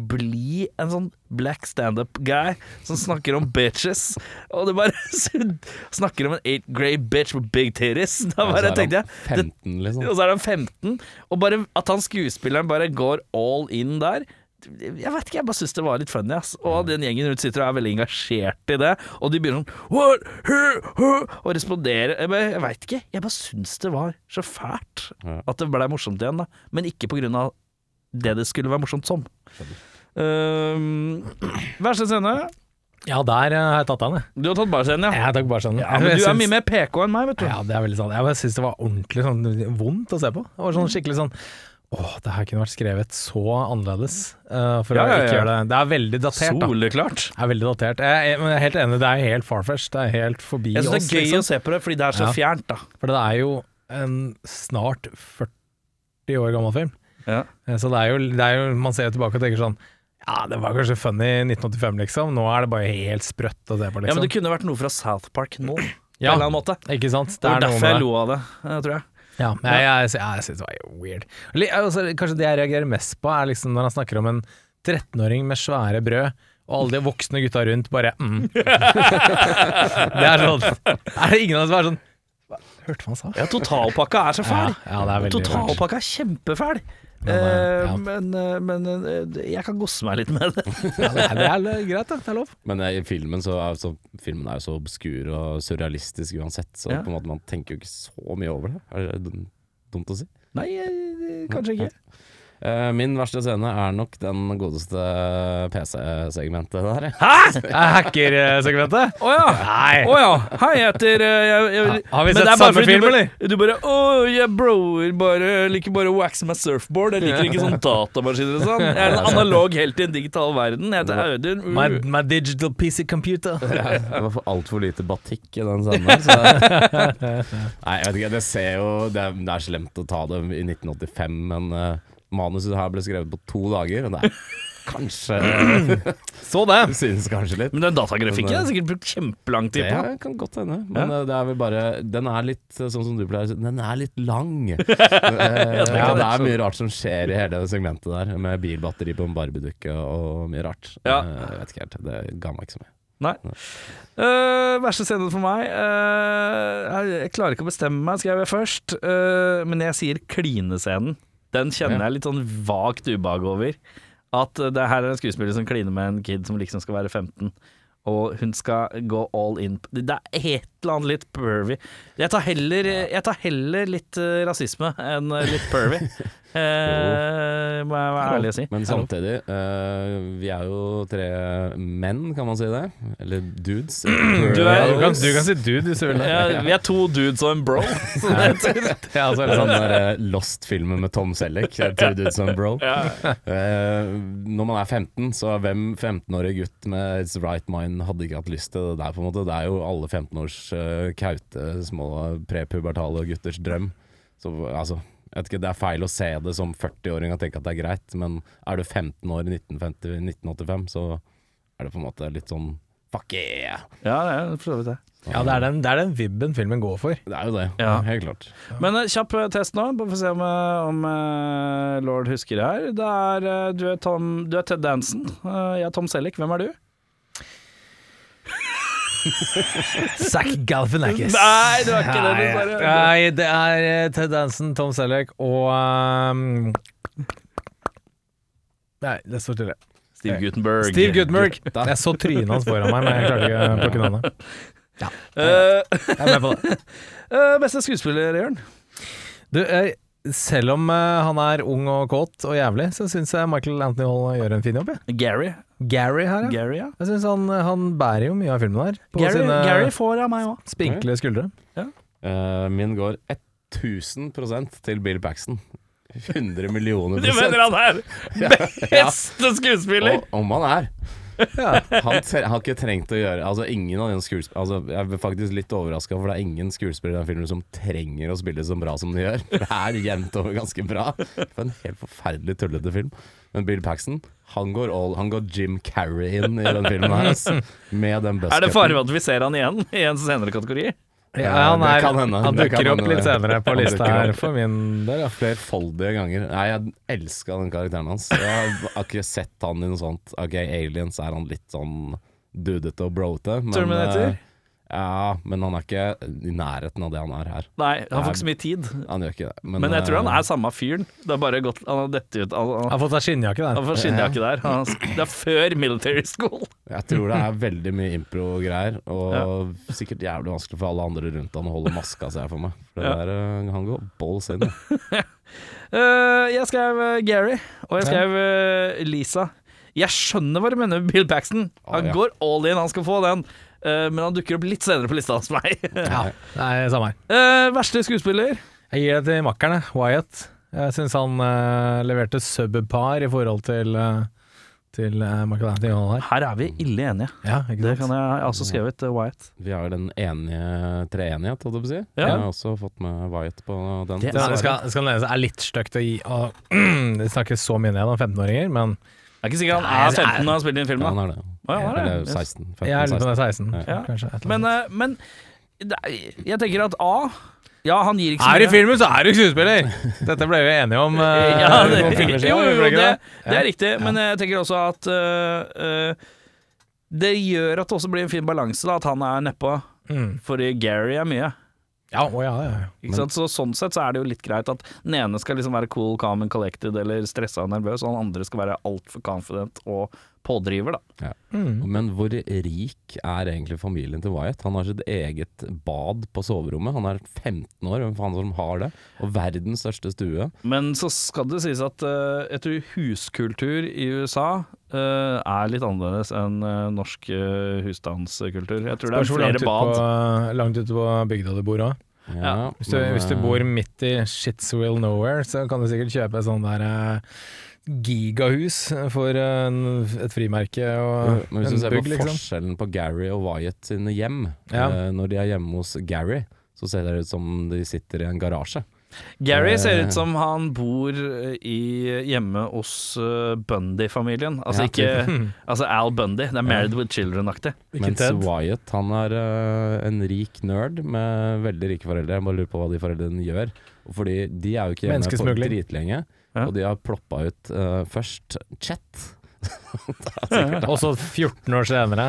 bli en sånn black standup-guy som snakker om bitches, og det bare Snakker om en eight grey bitch with big titties. Da bare tenkte jeg det,
15, liksom.
og så er han 15, og bare at han skuespilleren bare går all in der. Jeg vet ikke, jeg bare syns det var litt funny, ass. Og den gjengen rundt sitter og er veldig engasjert i det, og de begynner sånn What? Huh? Huh? Og responderer. Jeg, bare- jeg veit ikke, jeg bare syns det var så fælt
Ja.
at det blei morsomt igjen, da. Men ikke på grunn av det det skulle være morsomt som. Um, verste scene?
Ja, der eh, har jeg tatt den, jeg.
Du har tatt barscenen, ja.
Jeg tok bare sånn.
ja men
Jeg
du er
syns-
mye mer PK enn meg, vet du.
Ja, det er veldig sant. Jeg bare syns det var ordentlig sånn vondt å se på. Det var sånn skikkelig sånn Åh, det her kunne vært skrevet så annerledes. eh, for
Ja,
å
ja,
ikke
ja.
gjøre det. Det er veldig datert, da.
Soleklart.
Det er veldig datert. Jeg er, men jeg er helt enig, det er helt farfetch. Det er helt forbi
Jeg syns
oss.
det er gøy å
liksom.
se på det, fordi det er så
Ja.
fjernt, da.
For det er jo en snart 40 år gammel film.
Ja.
Eh, Så det er jo, det er jo man ser jo tilbake og tenker sånn Ja, det var kanskje funny i 1985, liksom. Nå er det bare helt sprøtt å se på,
ja, men
liksom.
det kunne vært noe fra South Park nå, på en
Ja,
eller annen måte.
ikke sant?
Det var
noe
derfor jeg
med det.
lo av det, eh, tror jeg.
Ja, men jeg, jeg, jeg, jeg synes det var weird. Eller, jeg- altså, kanskje det jeg reagerer mest på, er liksom når han snakker om en 13-åring med svære brød, og alle de voksne gutta rundt bare mm. Det er sånn Er det ingen av oss som er sånn «Hva- Hørte hva han sa?
Ja, totalpakka er så fæl.
Ja, ja, det er veldig rart.
totalpakka er kjempefæl.
Men, eh, ja.
Eh, Men, eh, men, eh, jeg kan gosse meg litt med det.
Ja, det, er, det er greit, det. Det er lov.
Men eh, i filmen, så er, så, filmen er jo så obskur og surrealistisk uansett, så
Ja.
på en måte man tenker jo ikke så mye over det. Er det dum- dumt å si?
Nei, eh, kanskje ikke.
Eh, min verste scene er nok den godeste PC-segmentet der.
Hackersegmentet?
Å ja.
eh, Nei.
Å ja. Hei, jeg heter eh, jeg, jeg,
Ja, har vi
Men
sett
det er bare
samme
fordi
film,
du, bare-
eller?
Du bare Å, jeg broer bare jeg Liker bare å waxe meg surfboard. Jeg liker ikke sånn datamaskiner og sånn. Jeg er en analog helt i en digital verden. Jeg heter Audun. Uh,
My, my digital PC computer.
Det var altfor lite batikk i den scenen der. Så. Nei, jeg vet ikke, det ser jo Det er, det er slemt å ta det i 1985, men eh, manuset her ble skrevet på to dager, og det er kanskje
Så det.
Synes kanskje litt.
Men den datagrafikken er sikkert brukt kjempelang tid
Det
på.
kan godt hende, men
Ja.
eh, det er vel bare Den er litt eh, sånn som du pleier å si, den er litt lang. Eh, ja, det er mye rart som skjer i hele det segmentet der, med bilbatteri på en barbiedukke og mye rart.
Ja.
Eh, Jeg vet ikke helt, det ga meg ikke så mye.
Nei. Eh, verste scenen for meg eh, jeg, jeg klarer ikke å bestemme meg, skrev jeg først. Eh, men jeg sier klinescenen. Den kjenner
Ja.
jeg litt sånn vagt ubehag over. At eh, det her er en skuespiller som kliner med en kid som liksom skal være 15. Og hun skal gå all in Det er et eller annet litt pervy. Jeg tar heller, jeg tar heller litt eh, rasisme enn eh, litt pervy. Eh, må jeg være ærlig og si.
Men samtidig, eh, vi er jo tre menn, kan man si det? Eller dudes. du
er-
Ja, du, kan, du kan si dude hvis du vil. det.
Ja, vi er to dudes og en bro. Som det heter.
Ja, altså,
Det er sånn der eh, Lost-filmen med Tom Selleck. eh, Two dudes and a bro. Eh, når man er 15, så er hvem 15-årig gutt med its right mind hadde ikke hatt lyst til det der, på en måte. Det er jo alle 15-års eh, kaute, små prepubertale gutters drøm. Så altså jeg vet ikke, Det er feil å se det som 40-åring og tenke at det er greit, men er du 15 år i 1950, 1985, så er det på en måte litt sånn Fuck yeah!
Ja, det er for så vidt det.
ja det, er den, det er den vibben filmen går for.
Det er jo det.
Ja.
Helt klart.
Men eh, kjapp eh, test nå, bare for å se om, eh, om eh, Lord husker det her. Det er, eh, du, er Tom, du er Ted Dansen, eh, jeg er Tom Selleck, hvem er du?
Zack Galifianakis.
Nei, det var ikke det du
Nei,
bare-
Nei, det er eh, Ted Dansen, Tom Selleck og ehm, Nei, det står stille.
Steve Gutenberg.
Steve Goodmerk. Jeg så trynet hans foran meg, men jeg klarte ikke å plukke navnet. Jeg er med på det.
beste skuespiller, Jørn?
Du, eh, selv om eh, han er ung og kåt og jævlig, så syns jeg Michael Anthony Hall gjør en fin jobb. jeg.
Gary.
Gary her, ja.
Gary, ja.
Jeg syns han, eh, han bærer jo mye av filmen her. På
Gary,
sine
Gary får av meg òg.
spinkle skuldre.
Eh, min går 1000 til Bill Paxton. 100 millioner
Du mener
prosent.
han er beste skuespiller?
Og om han er.
Ja.
Han tre har ikke trengt å gjøre Altså ingen av den skuesp- altså, Jeg er faktisk litt overraska, for det er ingen skuespillere i den filmen som trenger å spille så bra som de gjør. Det er jevnt over ganske bra. For en helt forferdelig tullete film. Men Bill Paxton, han går, all, han går Jim Carrey inn i den filmen her. ass. Med
Er
den
det
buzzcutten.
fare for at vi ser han igjen i en senere kategori?
Ja, han,
det
er,
kan hende.
han
Det kan
dukker opp
hende,
litt
det.
senere på
Han
lista
dukker
her
opp.
for min del. Ja.
Flerfoldige ganger. Nei, jeg elska den karakteren hans. Jeg har ikke sett han i noe sånt. Ok, Aliens er han litt sånn dudete og brote. men,
Terminator?
eh, Ja, men han er ikke i nærheten av det han er her.
Nei, han får ikke så mye tid.
Han gjør ikke det.
Men jeg tror han
eh,
er samme fyren. Det er bare gått Han har dett ut han, han,
Han har fått seg skinnjakke
han
der.
får skinnjakke der. Han, det er før military school.
Jeg tror det er veldig mye impro-greier, og
Ja.
sikkert jævlig vanskelig for alle andre rundt han å holde maska, ser jeg for meg. For det
Ja.
der, eh, han går balls in.
Eh, jeg skrev eh, Gary, og jeg skrev eh, Lisa. Jeg skjønner hva du mener med Bill Paxton. Han
Å, ja.
går all in, han skal få den. Eh, men han dukker opp litt senere på lista hos meg.
Ja, Nei, samme her.
Eh, verste skuespiller?
Jeg gir det til makkerne, Wyatt. Jeg syns han eh, leverte subpar i forhold til, eh, til eh, Michael Anthony Hall her.
Her er vi ille enige.
Ja, ikke
Det kan jeg, jeg har også skrevet eh, Wyatt.
Vi har jo den enige treenighet, holdt jeg på å si.
Ja.
Jeg har også fått med Wyatt på
Det
den.
er-
Det
dessverre.
skal, det skal nevnes, det er litt stygt å gi å snakke så mye ned om 15-åringer, men
Jeg er ikke sikker han er 15 når han spiller inn
ja,
filmen.
han
da.
er det.
Å, ja, han er det.
Eller
Yes.
16. 15,
jeg er litt på
16.
den 16.
Ja.
Kanskje, et eller
Men,
annet.
eh, men det er- jeg tenker at A Ja, han gir ikke så
er du i
mye.
filmen, så er du skuespiller! Dette ble vi enige om eh,
Ja,
for noen
det,
filmer siden,
jo, jo,
ble
det,
ikke det?
det er riktig, men jeg tenker også at øh, øh, det gjør at det også blir en fin balanse, da, at han er nedpå.
Mm.
Fordi Gary er mye.
Ja, å ja, ja, ja.
Men-
Ikke sant? Så Sånn sett så er det jo litt greit at den ene skal liksom være cool, calm and collected eller stressa og nervøs, og den andre skal være altfor confident og pådriver, da.
Mm.
Men hvor rik er egentlig familien til Wyatt? Han har sitt eget bad på soverommet. Han er 15 år, hvem faen som har det? Og verdens største stue.
Men så skal det sies at øh, jeg tror huskultur i USA øh, er litt annerledes enn øh, norsk øh, husstandskultur. Jeg tror det
Spørs
er
hvor langt
flere
ut,
bad.
på, eh, langt ute på bygda du bor òg.
Ja,
Hvis, du-
men,
hvis du
eh,
bor midt i Shitswill Nowhere, så kan du sikkert kjøpe et sånn der eh, gigahus for eh, en, et frimerke
jo,
og
men hvis du
en
ser på
bygg, liksom.
forskjellen på Gary og Wyatt sine hjem
Ja.
eh, Når de er hjemme hos Gary, så ser det ut som de sitter i en garasje.
Gary ser
Eh.
ut som han bor eh, i, hjemme hos eh, Bundy-familien. Altså
Ja.
Hmm.
ikke altså Al Bundy, det er Married with Children-aktig.
Mens Wyatt han er eh, en rik nerd med veldig rike foreldre. Jeg bare lurer på hva de foreldrene gjør. Fordi de er jo ikke hjemme på
Menneskesmugling.
dritlenge,
Ja.
og de har ploppa ut eh, først chat.
Og så 14 år senere.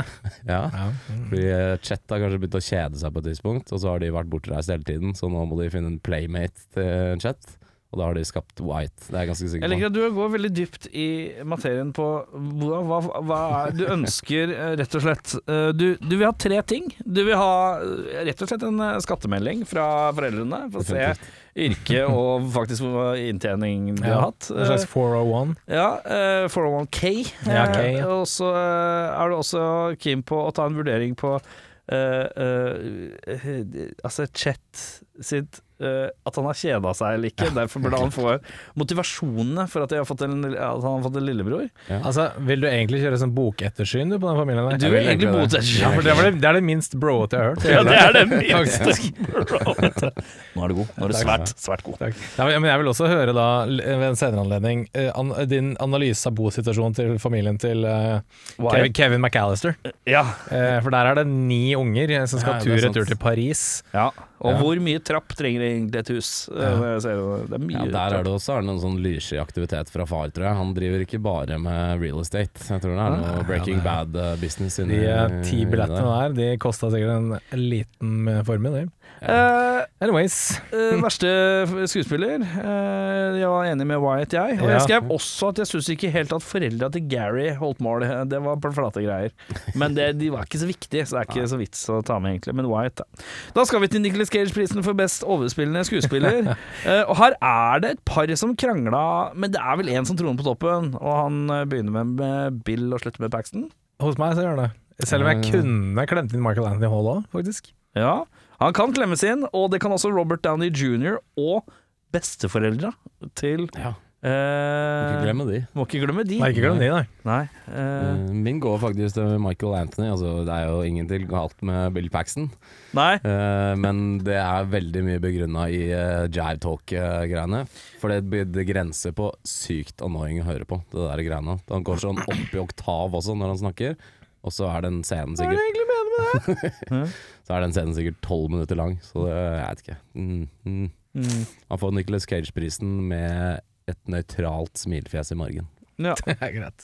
Ja.
Ja. Hmm.
Fordi eh, Chet har kanskje begynt å kjede seg på et tidspunkt, og så har de vært bortreist hele tiden, så nå må de finne en playmate til Chet, og da har de skapt White. Det er jeg ganske
Jeg
sikker på.
liker at du går veldig dypt i materien på hva, hva, hva er du ønsker, eh, rett og slett. Eh, Du, du vil ha tre ting. Du vil ha eh, rett og slett en eh, skattemelding fra foreldrene, for å se
Definitivt.
yrke og faktisk hvor mye inntjening du har
Ja,
hatt.
En slags 401.
Ja, eh, 401K.
Ja, K,
Eh,
ja.
Og så eh, er du også keen på å ta en vurdering på eh, eh, eh, Altså Chet sitt eh, At han har kjeda seg eller ikke. Derfor burde han få motivasjonene for at, jeg har fått en, at han har fått en lillebror.
Altså, vil du egentlig kjøre sånn bokettersyn du, på den familien der?
Du
Jeg
vil
vil
egentlig
egentlig
bo
det.
til
Ja, for det, var det, det er det minst broete jeg har hørt.
Ja, det er det
Faktisk.
minste. Nå er du god. Nå er du svært, svært god.
Takk. Ja, men jeg vil også høre da, l- ved en senere anledning, eh, an, din analyse av bosituasjonen til familien til eh, Kevin, Kevin McAllister.
Ja.
Eh, for der er det ni unger eh, som skal
Ja, det er sant.
tur-retur til Paris.
Og hvor mye trapp trenger egentlig et hus? Eh, når jeg ser Det det er mye
Ja, der
trapp.
er det også er det noen sånn lyssky aktivitet fra far, tror jeg. Han driver ikke bare med real estate. Jeg tror det er noe Breaking Bad-business inni
De eh, ti
inni
billettene
der.
der, de kosta sikkert en liten eh, formue, de.
Eh,
Anyways.
Eh, verste skuespiller. Eh, jeg var enig med Wyatt, jeg. Og jeg
Ja.
skrev også at jeg syns ikke helt at foreldra til Gary holdt mål. Det var bare flate greier. Men det, de var ikke så viktige, så det er ikke så vits å ta med, egentlig. Men Wyatt, da. Da skal vi til Nicholas Cage-prisen for best overspillende skuespiller. Eh, og her er det et par som krangla, men det er vel én som troner på toppen. Og han eh, begynner med, med Bill og slutter med Paxton.
Hos meg så gjør det. Selv om jeg kunne klemt inn Michael Anthony Hall òg, faktisk.
Ja, han kan klemmes inn, og det kan også Robert Downey jr. og besteforeldra til
Ja, ikke
Eh,
glemme de.
må ikke glemme de.
Nei, ikke glem de, nei.
Nei, eh,
Eh, Min går faktisk til Michael Anthony. Altså, det er jo ingenting galt med Bill Paxton.
nei.
Eh, men det er veldig mye begrunna i uh, jive talk-greiene. For det, be- det grenser på sykt annoying å høre på, det der greiene. Han går sånn opp i oktav også når han snakker, og så er den scenen sikkert Så er den scenen sikkert tolv minutter lang, så det, jeg vet ikke. Mm, mm.
Mm.
Han får Nicholas Cage-prisen med et nøytralt smilfjes i margen.
Ja.
Det er greit.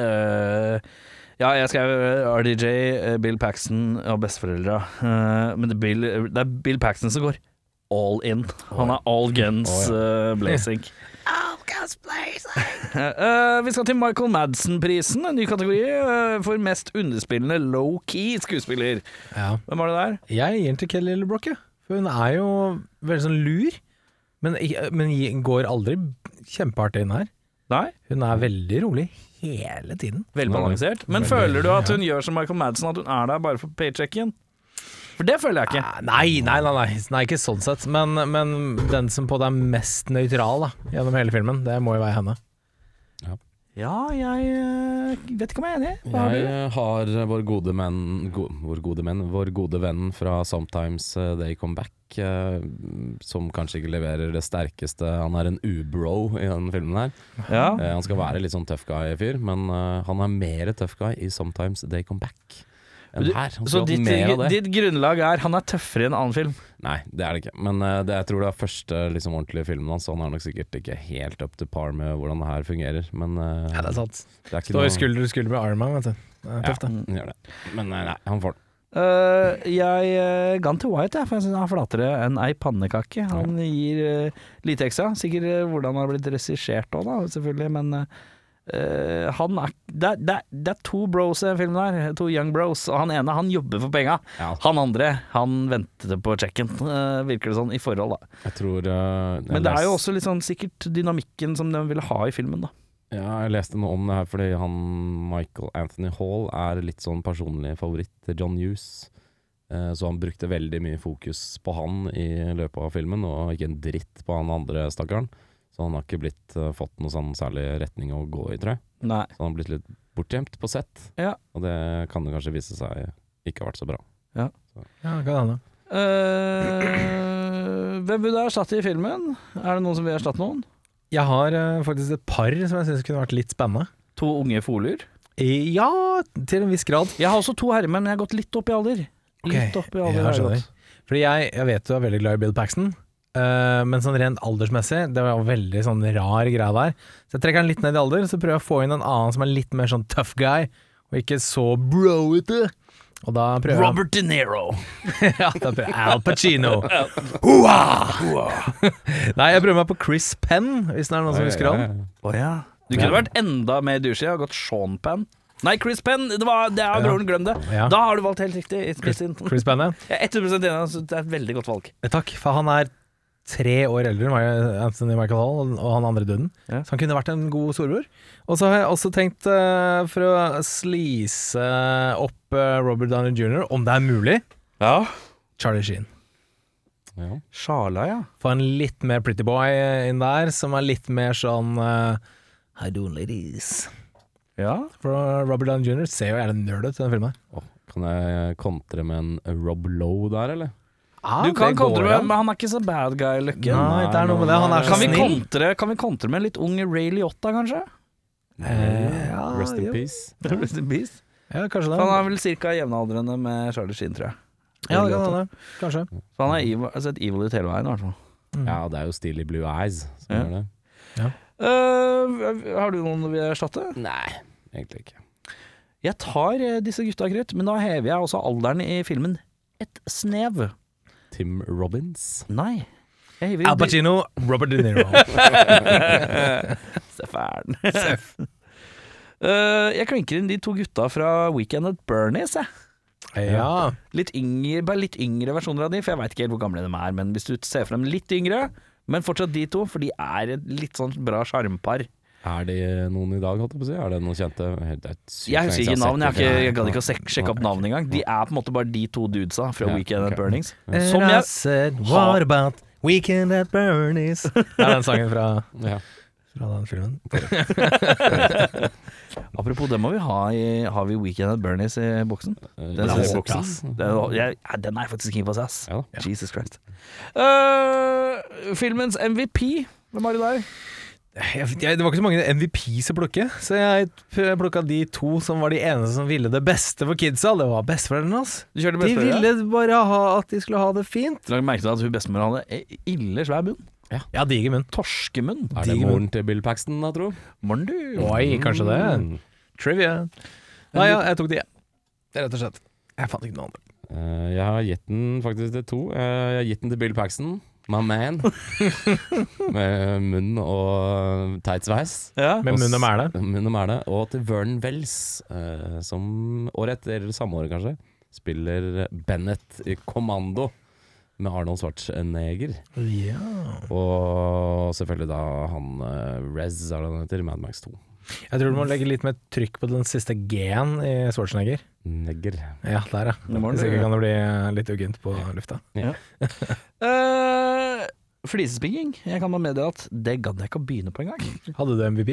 Eh, ja, jeg skrev eh, RDJ, eh, Bill Paxton og besteforeldra. Eh, men det er, Bill, det er Bill Paxton som går all in. Han er all guns eh, blazing. Eh, vi skal til Michael Madsen-prisen, en ny kategori eh, for mest underspillende low-key skuespiller.
Ja.
Hvem var det der?
Jeg gir den til Kelly LeBrock, jeg. For hun er jo veldig sånn lur, men, men gi- går aldri kjempehardt inn her.
Nei?
Hun er veldig rolig hele tiden.
Velbalansert. Men føler du at hun gjør som Michael Madsen, at hun er der bare for paychecken? For det føler jeg ikke.
Ah, Nei, nei, nei, nei, nei ikke sånn sett. Men, men den som på det er mest nøytral da, gjennom hele filmen, det må jo være henne.
Ja, jeg eh, vet ikke om jeg er enig. Hva har
Jeg
du?
eh, har eh, vår gode menn go, Vår gode menn Vår gode venn fra Sometimes eh, They Come Back, eh, som kanskje ikke leverer det sterkeste. Han er en ubro i den filmen her.
Ja.
Eh, han skal være litt sånn tough guy-fyr, men eh, han er mer tough guy i Sometimes They Come Back enn
Du-
her. Han
Så
skulle hatt
ditt, eh,
mer av det.
ditt grunnlag er han er tøffere i en annen film.
Nei, det er det ikke. Men eh, det, jeg tror det er første liksom, ordentlige filmen hans, så han er nok sikkert ikke helt up to par med hvordan det her fungerer. Men eh,
Ja, det er sant.
det er ikke
Står
noe-
skulder til skulder med Ironman, vet du. Det er tøft, det.
Ja, han gjør det. Men eh, nei, han får den.
Eh, jeg eh, ga den til White, jeg, for jeg synes han er flatere enn ei pannekake. Han gir eh, lite ekstra. Sikkert eh, hvordan han har blitt regissert òg, da, selvfølgelig, men eh, han er, det, er- det, er- det er to bros i den filmen her, to young bros, og han ene han jobber for penga.
Ja.
Han andre han venter på checken, eh, virker det sånn, i forhold, da.
Jeg tror eh, jeg
Men det er jo
les-
også litt sånn sikkert dynamikken som de ville ha i filmen, da.
Ja, jeg leste noe om det her fordi han Michael Anthony Hall er litt sånn personlig favoritt til John Hughes. Eh, Så han brukte veldig mye fokus på han i løpet av filmen, og ikke en dritt på han andre stakkaren. Så han har ikke blitt, eh, fått noe sånn særlig retning å gå i, tror jeg.
Nei.
Så han har blitt litt bortgjemt på sett,
Ja.
og det kan jo kanskje vise seg ikke har vært så bra.
Ja, det kan hende.
Eh, hvem vil du erstatte i filmen? Er det noen som vil erstatte noen?
Jeg har eh, faktisk et par som jeg syns kunne vært litt spennende.
To unge folier?
Eh, Ja, til en viss grad.
Jeg har også to herremenn, jeg har gått litt opp i alder. Litt opp i alder
jeg
har jeg
skjønner.
gått.
Fordi jeg, jeg vet du er veldig glad i Bill Paxton, eh, men sånn rent aldersmessig, det var veldig sånn rar greie der. Så jeg trekker den litt ned i alder, så prøver jeg å få inn en annen som er litt mer sånn tough guy, og ikke så broete. Og da prøver jeg-
Robert De Niro.
ja, da prøver jeg Al Pacino. Hua! Nei, jeg prøver meg på Chris Penn, hvis det er noen som husker han.
Å ja. Du kunne vært enda mer douchey og gått Sean Penn. Nei, Chris Penn! Det, var, det er broren, glem det.
Ja.
Da har du valgt helt riktig. It's
Chris,
Christine.
Chris Penn, ja.
Jeg er 100 enig, altså, det er et veldig godt valg.
Eh, Takk, for han er tre år eldre enn meg, Anthony Michael Hall og- og han andre duden.
Ja.
Så han kunne vært en god storebror. Og så har jeg også tenkt, eh, for å slise opp eh, Robert Downey jr., om det er mulig,
Ja.
Charlie Sheen.
Ja.
Sjala, ja.
Få en litt mer pretty boy eh, inn der, som er litt mer sånn eh, How do ladies?
Ja.
For eh, Robert Downey jr. ser jo jævlig nerd ut i den filmen. her.
Åh, kan jeg kontre med en Rob Lowe der, eller?
Du kan
Ah, det går
kontre med,
an.
men han er ikke så bad guy, Løkken.
Nei, det er noe med det. Han er så
Kan vi,
snill.
kontre, kan vi kontre med en litt ung Ray Liotta, kanskje?
Eh, Rest in
ja.
peace.
Rest in peace.
Ja, kanskje det.
Han er vel ca. jevnaldrende med Charlie Sheen, tror jeg.
ja, det kan hende. Kanskje.
Så han har evil, sett evil ut hele veien, i hvert fall.
Ja, det er jo Steely Blue Eyes som
Mm. Ja.
gjør det.
Eh, har du noen du vil erstatte?
Nei, egentlig ikke.
Jeg tar eh, disse gutta krutt, men da hever jeg også alderen i filmen et snev.
Tim Robbins.
Nei. Jeg hever i
Al Pacino, Robert De Niro.
Stefan. Eh, jeg klinker inn de to gutta fra Weekend at Bernies, jeg.
ja.
Litt yngre, bare litt yngre versjoner av de, for jeg veit ikke helt hvor gamle de er. Men hvis du ser for dem litt yngre, men fortsatt de to, for de er et litt sånn bra sjarmpar.
Er det noen i dag, holdt jeg på å si? Er det noen kjente? Helt- det er sykt
Jeg
lenge
husker
siden
ikke navn, jeg, har
har
ikke,
sett
jeg gadd ikke å
det.
sek sjekke opp navn engang. De er på en måte bare de to dudesa fra
Ja,
Weekend
ok.
at Burnings.
Eh,
Som
Som jeg
jeg
said, what about Weekend at Bernie's Det er den sangen fra,
Ja.
fra den filmen.
Apropos, den må vi ha i Har vi Weekend at Bernies i boksen?
Den
Den
synes
synes jeg-
jeg ass.
Den, jeg, ja, den er jeg faktisk keen på å se, ass.
Ja da.
Jesus Christ. Øh, filmens MVP. Hvem har du der?
Jeg, jeg, det var ikke så mange MVPs å plukke, så jeg plukka de to som var de eneste som ville det beste for kidsa. Det var besteforeldrene hans.
Du kjørte
De ville bare ha at de skulle ha det fint.
Du merket at hun bestemor hadde e- ille svær munn.
Ja, diger munn.
Torskemunn.
Er det
Digg, men-
moren til Bill Paxton, da, tro?
Morn, du.
Oi, kanskje det.
Mm.
Trivia. Nei, ja, jeg tok de, jeg. Det er Rett og slett. Jeg fant ikke noe andre.
Eh, jeg har gitt den faktisk til to. Eh, jeg har gitt den til Bill Paxton, my man. Med munn og teit sveis.
Ja.
Med munn og mæle.
Munn og mæle. Og til Vernon Wells, eh, som året etter, eller samme året kanskje, spiller Bennett i Kommando med Arnold Schwarzenegger.
Ja.
Og selvfølgelig da han eh, Rez, er det han heter? Mad Max 2.
Jeg tror du må legge litt mer trykk på den siste G-en i Schwarzenegger.
Negger.
Ja, der, ja.
Det må den
Hvis ikke kan det bli eh, litt uggent på lufta.
Uh, Flisespigging. Jeg kan bare meddele at det gadd jeg ikke å begynne på engang.
Hadde du MVP?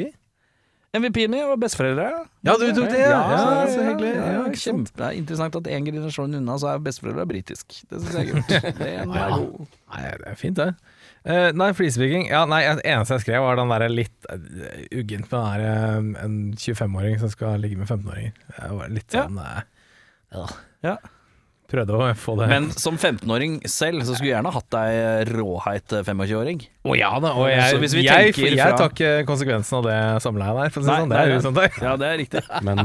MVP-en min var besteforeldre.
Ja, du tok det, ja.
Ja,
Ja, så hyggelig.
ja,
Ja, ikke sant.
Kjempe, det er interessant at en generasjon unna så er besteforeldre britisk. Det syns jeg er kult. Det er
Ja.
god.
Nei, det er fint, det. Eh, nei, flisebygging ja, Nei, det eneste jeg skrev, var den derre litt eh, uggent med den der, eh, en 25-åring som skal ligge med 15-åringer. Det var Litt
Ja.
sånn eh, ja.
Ja.
Prøvde å få det
Men som 15-åring selv, så skulle jeg gjerne hatt deg råheit eh, 25-åring.
Å ja da, og jeg,
Så hvis vi
jeg,
tenker
jeg,
fra-
tar ikke konsekvensen av det samleiet der. For å si det sånn, det
Nei,
er
nei,
jo sånn det er.
Ja, det er riktig.
Men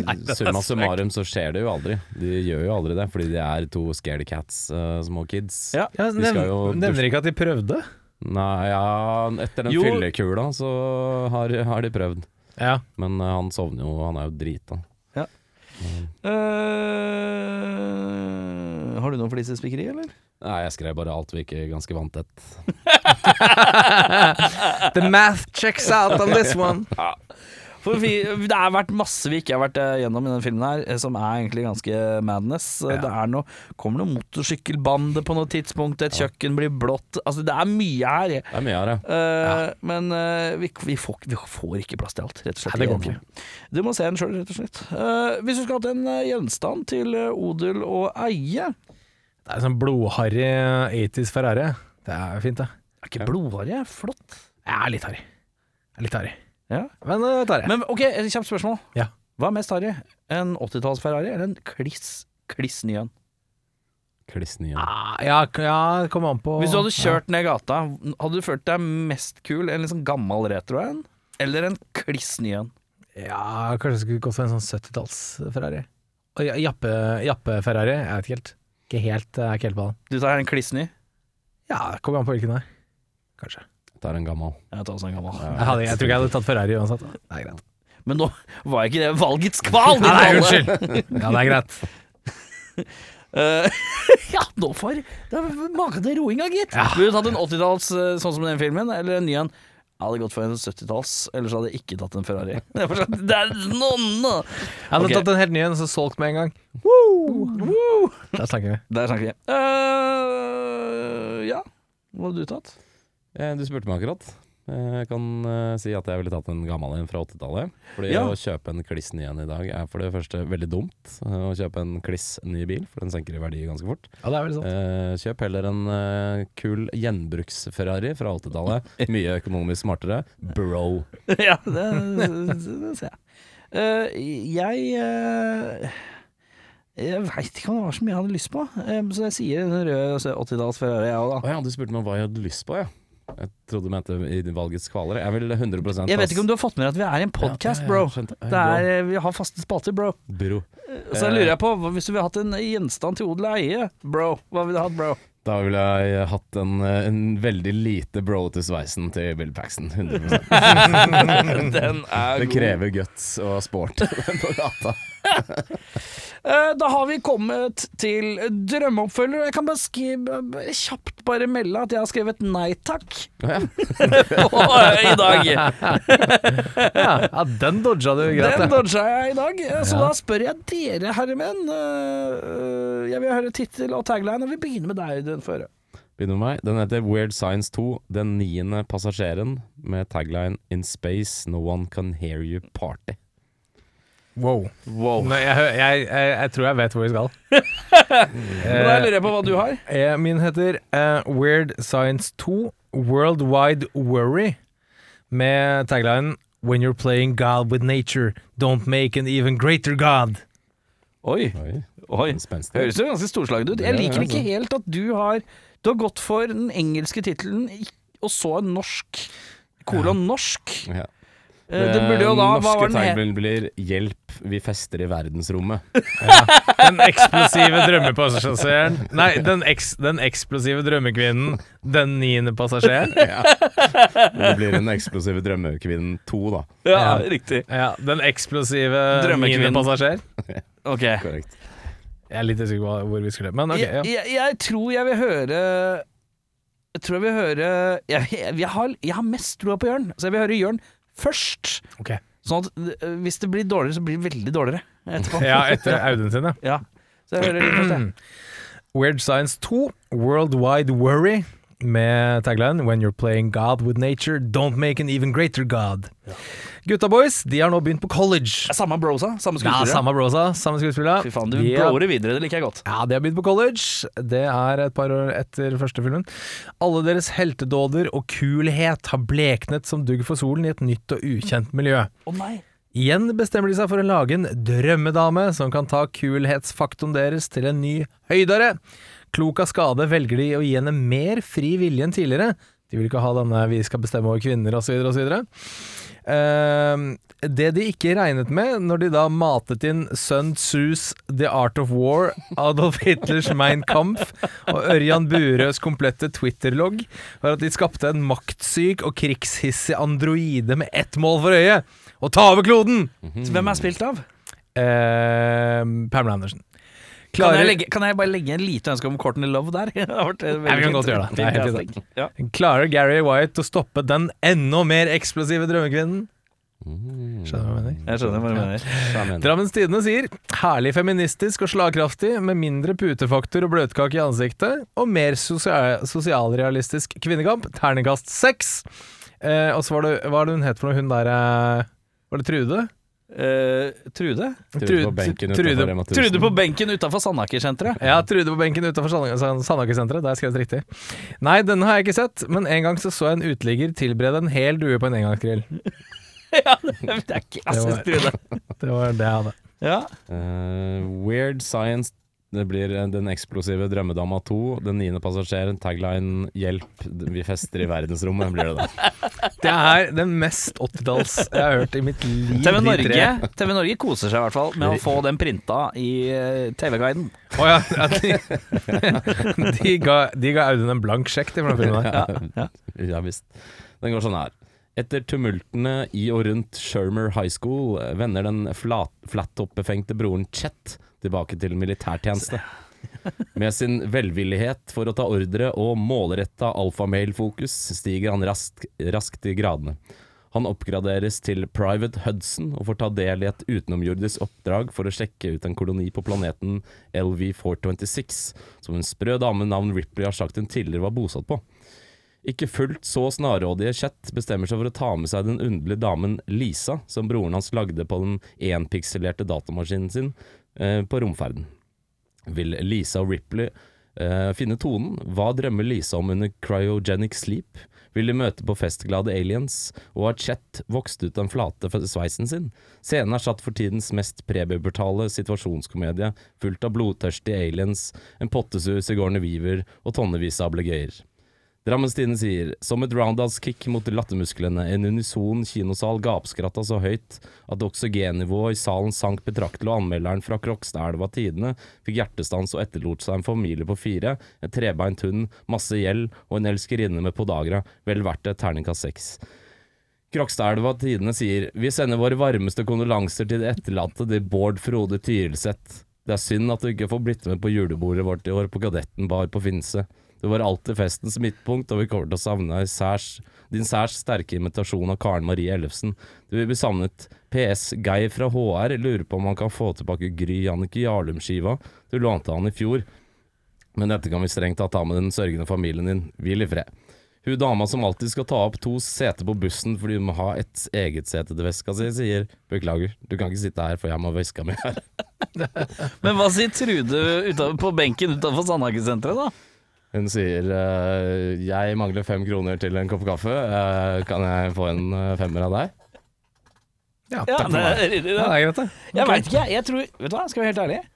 det er
summa
sterkt.
summarum så skjer det jo aldri. De gjør jo aldri det, fordi de er to scaredy cats, eh, små kids.
Ja.
Ja,
De
nev,
skal jo dusje.
nevner ikke at de prøvde.
Nei, ja, etter den
Jo.
fyllekula så har, har de prøvd.
Ja.
Men eh, han sovner jo, han er jo drita.
Eh, har du noe flisespikkeri, eller?
Nei, jeg skrev bare alt virker ganske vanntett.
The math checks out on this one.
For vi, det har vært masse vi ikke har vært eh, gjennom i denne filmen her, eh, som er egentlig ganske madness. Eh, Det er noe, kommer noe motorsykkelbande på noe tidspunkt, et kjøkken blir blått. Altså, det er mye her.
Det er mye av det.
Eh, Men eh, vi, vi, får, vi får ikke plass til alt, rett og slett.
Nei, det går ikke.
Du må se den sjøl, rett og slett. Eh, hvis du skulle hatt en eh, gjenstand til eh, odel og eie Det
Det er sånn blodharry 80s Ferrari. Det er fint, det.
er ikke blodharry, flott.
Jeg er litt harry. Jeg er Litt harry.
Ja.
Men eh, det tar jeg.
Men ok, et kjapt spørsmål.
Ja.
Hva er mest harry? En 80-talls Ferrari eller en kliss, kliss ny en?
Kliss nye.
Ah, ja, k- ja, det kommer an på
Hvis du hadde kjørt ned gata, hadde du følt deg mest kul? En litt sånn gammel retro en? Eller en kliss ny en?
Ja, kanskje jeg skulle gått for en sånn 70-talls-Ferrari. Og ja- jappe- Jappe-Ferrari, jeg vet ikke helt. Ikke helt, jeg er ikke helt på den.
Du tar en kliss ny?
Ja, det kommer an på hvilken det er. Kanskje.
Det er en gammel.
Jeg tar også en gammel.
Jeg, hadde, jeg tror ikke jeg hadde tatt Ferrari uansett. da. Det er greit.
Men nå var ikke det valgets kval!
Nei, nei,
din balle.
unnskyld! Ja, det er greit.
Eh, ja, nå for Det er maken til roing, da, gitt. Ville du tatt en 80-talls eh, sånn som den filmen, eller en ny en? Jeg hadde gått for en 70-talls, ellers hadde jeg ikke tatt en Ferrari. Det er fortsatt- det er nonne!
Jeg hadde
Ok.
tatt en helt ny en og så solgt med en gang.
Woo!
Der snakker vi.
Der snakker vi. Eh, ja, hva hadde du tatt?
Eh, Du spurte meg akkurat. Eh, Jeg kan eh, si at jeg ville tatt en gammel en fra 80-tallet. Fordi
Ja.
å kjøpe en kliss ny en i dag er for det første veldig dumt. eh, Å kjøpe en kliss ny bil, for den senker i verdi ganske fort.
Ja, det er vel sånn.
Eh, Kjøp heller en eh, kul gjenbruks-Ferrari fra 80-tallet. Mye økonomisk smartere. Bro.
ja, det, det, det ser jeg. Eh, jeg eh, Jeg veit ikke om det var så mye jeg hadde lyst på, eh, så jeg sier en rød 80-talls Ferrari, jeg òg, da.
Å ja, du spurte meg hva jeg hadde lyst på, ja. Jeg trodde du mente i valgets kvaler. Jeg vil 100
Jeg vet ikke om du har fått med deg at vi er i en podcast,
Ja, ja,
bro.
ja, skjønte. Eh.
Det er, eh, vi har faste spalter, bro.
Bro.
Så jeg lurer jeg på, hva- hvis du ville hatt en gjenstand til odel og eie, bro, hva ville du hatt, bro?
Da ville jeg hatt en, eh, en veldig lite bro til sveisen til Bill Paxton. 100
Den er
Det krever guts og sport på gata.
Eh, Da har vi kommet til drømmeoppfølger. Jeg kan bare skrive, kjapt bare melde at jeg har skrevet nei takk på- i dag.
Ja, ja, den dodga du greit.
Den
ja.
dodga jeg i dag. Eh, Så da spør jeg dere, herremenn. eh, eh, Jeg vil høre tittel og tagline, og vi begynner med deg, Audun Føre.
Begynner med meg. Den heter Weird Science 2, Den niende passasjeren, med tagline In space no one can hear you party.
Wow. Nei, jeg, hø- jeg, jeg, jeg tror jeg vet hvor vi skal.
Eh.
Men da lurer jeg på hva du har.
Eh, Min heter eh, Weird Science 2 Worldwide Worry Med taglinen When you're playing God with nature Don't make an even greater God
Oi,
Oi,
oi.
spenstig.
Høres jo ganske storslaget ut.
Det
Jeg
er
liker
det,
ikke
altså.
helt at du har Du har gått for den engelske tittelen ikk- og så en norsk kolon norsk.
Ja.
Eh, Det burde jo da Hva
norske
var den het?
tagline blir 'Hjelp, vi fester i verdensrommet'.
Den eksplosive drømmepassasjeren Nei, den, eks, den eksplosive drømmekvinnen Den niende passasjeren
Det blir Den eksplosive drømmekvinnen 2, da.
Ja, riktig.
ja, Den eksplosive
Drømmekvinnen.
niende passasjer
Ok.
Korrekt.
Jeg er litt usikker på hva- hvor vi skulle Men ok,
Jeg,
ja.
jeg, jeg tror jeg vil høre Jeg tror jeg vil høre Jeg, jeg, jeg, har, jeg har mest troa på Jørn, så jeg vil høre Jørn først.
Ok.
Sånn at eh, hvis det blir dårligere, så blir det veldig dårligere etterpå.
Ja, Mm. etter Audun sin, ja.
Ja. Så jeg hører litt på det.
Weird Science 2, Worldwide Worry, med tagline When you're playing God with nature, don't make an even greater God. Gutta boys, de har nå begynt på college.
Det er Samme brosa, samme
Ja,
skuespillere.
samme brosa, samme skuespiller.
Fy faen, du
De-
blower det videre, det liker jeg godt.
Ja, de har begynt på college. Det er et par år etter første filmen. Alle deres heltedåder og kulhet har bleknet som dugg for solen i et nytt og ukjent miljø.
Å nei.
Igjen bestemmer de seg for å lage en drømmedame som kan ta kulhetsfaktoren deres til en ny høydere. Klok av skade velger de å gi henne mer fri vilje enn tidligere. De vil ikke ha denne 'vi skal bestemme over kvinner' osv. osv. Uh, det de ikke regnet med når de da matet inn Sun Tzus 'The Art of War', Adolf Hitlers 'Mein Kampf' og Ørjan Burøes komplette Twitter-logg, var at de skapte en maktsyk og krigshissig androide med ett mål for øye å ta over kloden!
Så hvem er spilt av?
Uh, Pamela Andersen.
Kan jeg,
Klarer-
legge, kan jeg bare legge en lite ønske om Courtney Love der? Det har vært, eh, veldig
vi kan
fint.
godt gjøre det. Det er
Fin
helt
casting. Ja.
Klarer Gary White å stoppe den enda mer eksplosive drømmekvinnen?
Mm.
Skjønner du hva jeg mener?
Jeg skjønner hva du mener.
Drammens Tidende sier 'herlig feministisk og slagkraftig, med mindre putefaktor og bløtkake i ansiktet', og 'mer sosial sosialrealistisk kvinnekamp', terningkast seks. Eh, og så var det, hva er det hun het for noe, hun der eh, Var det Trude?
Eh, Trude?
Trude på benken utenfor
Trude-
Rema 1000.
Trude på benken utafor Sandaker-senteret.
Ja, Trude på benken utenfor Sand- Sand- Sandaker-senteret. Der skrev jeg riktig. Nei, denne har jeg ikke sett, men en gang så, så jeg en uteligger tilberede en hel due på en engangsgrill.
ja, det er ikke jeg synes Trude.
Det var det jeg hadde.
Ja.
Eh, Weird Science det blir eh, Den eksplosive drømmedama 2, Den niende passasjeren, tagline 'Hjelp, vi fester i verdensrommet'. blir det da.
Det er den mest 80-talls jeg har hørt i mitt liv.
TV
de tre.
Norge, TV Norge koser seg i hvert fall med å få den printa i eh, TV-guiden.
Å ja, ja, de, de, ga, de ga Audun en blank sjekk til for den filmen der.
Ja visst. Den går sånn her. Etter tumultene i og rundt Shermer High School eh, vender den flat, flattoppbefengte broren Chet tilbake til militærtjeneste. Med sin velvillighet for å ta ordre og målretta alfamail-fokus stiger han raskt, raskt i gradene. Han oppgraderes til Private Hudson og får ta del i et utenomjordisk oppdrag for å sjekke ut en koloni på planeten LV426, som en sprø dame navn Ripley har sagt hun tidligere var bosatt på. Ikke fullt så snarrådige Chet bestemmer seg for å ta med seg den underlige damen Lisa, som broren hans lagde på den enpikselerte datamaskinen sin, eh, på romferden. Vil Lisa og Ripley eh, finne tonen? Hva drømmer Lisa om under cryogenic sleep? Vil de møte på festglade aliens? Og har Chet vokst ut den flate fe- sveisen sin? Scenen er satt for tidens mest prebubertale situasjonskomedie, fullt av blodtørstige aliens, en pottesur Sigourney Weaver og tonnevis av ablegøyer. Drammens Tidende sier Som et roundhouse-kick mot lattermusklene En unison kinosal gapskratta så høyt At oksygennivået i salen sank betraktelig Og anmelderen fra Krokstadelva Tidene Fikk hjertestans og etterlot seg en familie på fire En trebeint hund, masse gjeld Og en elskerinne med podagra Vel verdt et terningkast 6 Krokstadelva Tidene sier Vi sender våre varmeste kondolanser til det etterlatte til Bård Frode Tyrelseth. Det er synd at du ikke får blitt med på julebordet vårt i år på Kadetten bar på Finse. Du var alltid festens midtpunkt, og vi kommer til å savne deg særs, din særs sterke imitasjon av Karen Marie Ellefsen. Du vil bli savnet. PS Geir fra HR lurer på om han kan få tilbake Gry Jannicke Jarlum-skiva. Du lånte han i fjor. Men dette kan vi strengt tatt ta med den sørgende familien din. Hvil i fred. Hun dama som alltid skal ta opp to seter på bussen fordi hun må ha et eget sete til veska si, sier beklager, du kan ikke sitte her, for jeg må ha veska mi her.
Men hva sier Trude uta- på benken utafor Sandaker-senteret, da?
Hun sier eh, jeg mangler fem kroner til en kopp kaffe, Eh, kan jeg få en eh, femmer av deg?
Ja,
Ja,
takk for
det
meg.
er ryddig,
Ja,
det.
det er greit, det.
Jeg veit ikke, jeg. jeg tror, vet du hva, skal vi være helt ærlige?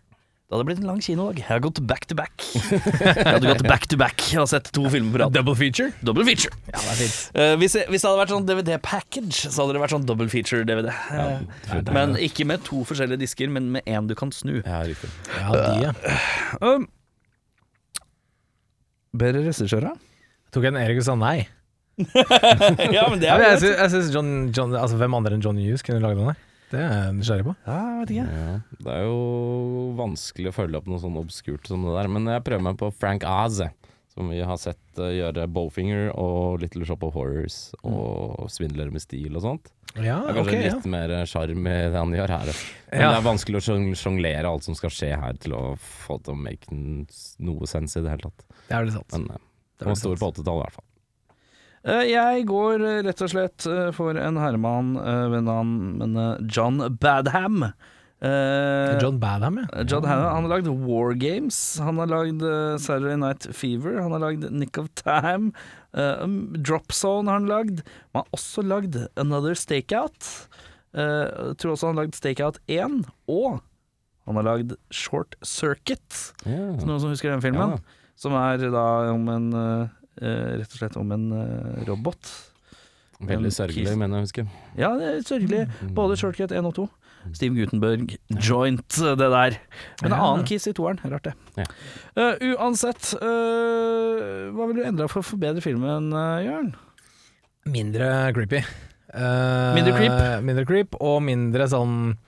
Det hadde blitt en lang kinodag. Jeg hadde gått back to back. Jeg hadde gått back to back og sett to filmer på rad.
Double feature.
Double feature. Eh, hvis, hvis det hadde vært sånn DVD-package, så hadde det vært sånn double feature-DVD. Eh, men ikke med to forskjellige disker, men med én du kan snu.
Ja, riktig.
Ja, de, ja.
Um, Bedre regissører?
Tok en Erik og sa nei.
ja, men det
Ja,
er
men jeg
greit.
synes, jeg synes John, John, altså, Hvem andre enn John Hughes kunne lagd den der? Det er jeg nysgjerrig på.
Ja, jeg vet ikke.
Ja. Det er jo vanskelig å følge opp noe sånn obskurt som det der, men jeg prøver meg på Frank Aze, som vi har sett eh, gjøre Bowfinger og Little Shop of Horrors og Svindlere med stil og sånt.
Ja,
Det er
Mm. ok.
kanskje
Ja.
litt mer eh, sjarm i det han gjør her. Men
Ja.
det er vanskelig å sjong- sjonglere alt som skal skje her til å få til å make n- noe sense i det hele tatt.
Det er vel sant.
Men eh,
Det er vel
han var stor
sant.
på 80-tallet i hvert fall.
Eh, Jeg går eh, rett og slett eh, for en herremann eh, ved navn men, eh, John Badham. Eh,
John Badham, ja.
eh, John Hannah, han har lagd War Games, han har lagd eh, Saturday Night Fever, han har lagd Nick of Time, eh, um, Drop Zone har han lagd. Men han har også lagd Another Stakeout. Eh, jeg tror også han har lagd Stakeout 1, og han har lagd Short Circuit.
Ja.
Noen som husker den
Mm. Ja,
filmen?
da.
Som er da om en eh, eh, Rett og slett om en eh, robot.
Veldig sørgelig,
Kis-
mener jeg å huske. Mm.
Ja, det er sørgelig. Både Shortcut 1 og 2. Steve Mm. Gutenberg, joint, eh, det der. Men en
Ja.
annen kiss i toeren. Rart, det.
Ja.
Eh, uansett, eh, hva ville du endra for å forbedre filmen, eh, Jørn?
Mindre creepy. Eh,
Mindre creep?
Mindre creep, og mindre sånn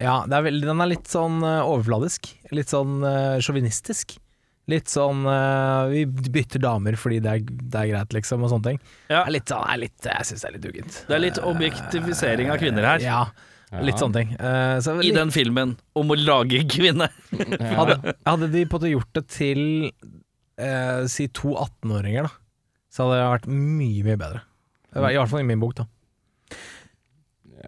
Ja, det er veldig, den er litt sånn eh, overfladisk. Litt sånn eh, sjåvinistisk. litt sånn eh, Vi bytter damer fordi det er, det er greit, liksom, og sånne ting.
Ja.
Det er litt, sånn- det er litt, jeg syns det er litt duggent. Eh,
Det er litt objektifisering av kvinner her.
Ja, litt sånne ting. Eh, så
I
litt-
den filmen om å lage kvinne.
Ja.
hadde, hadde de på en måte gjort det til eh, si to 18-åringer, da, så hadde det vært mye, mye bedre. I hvert fall i min bok, da.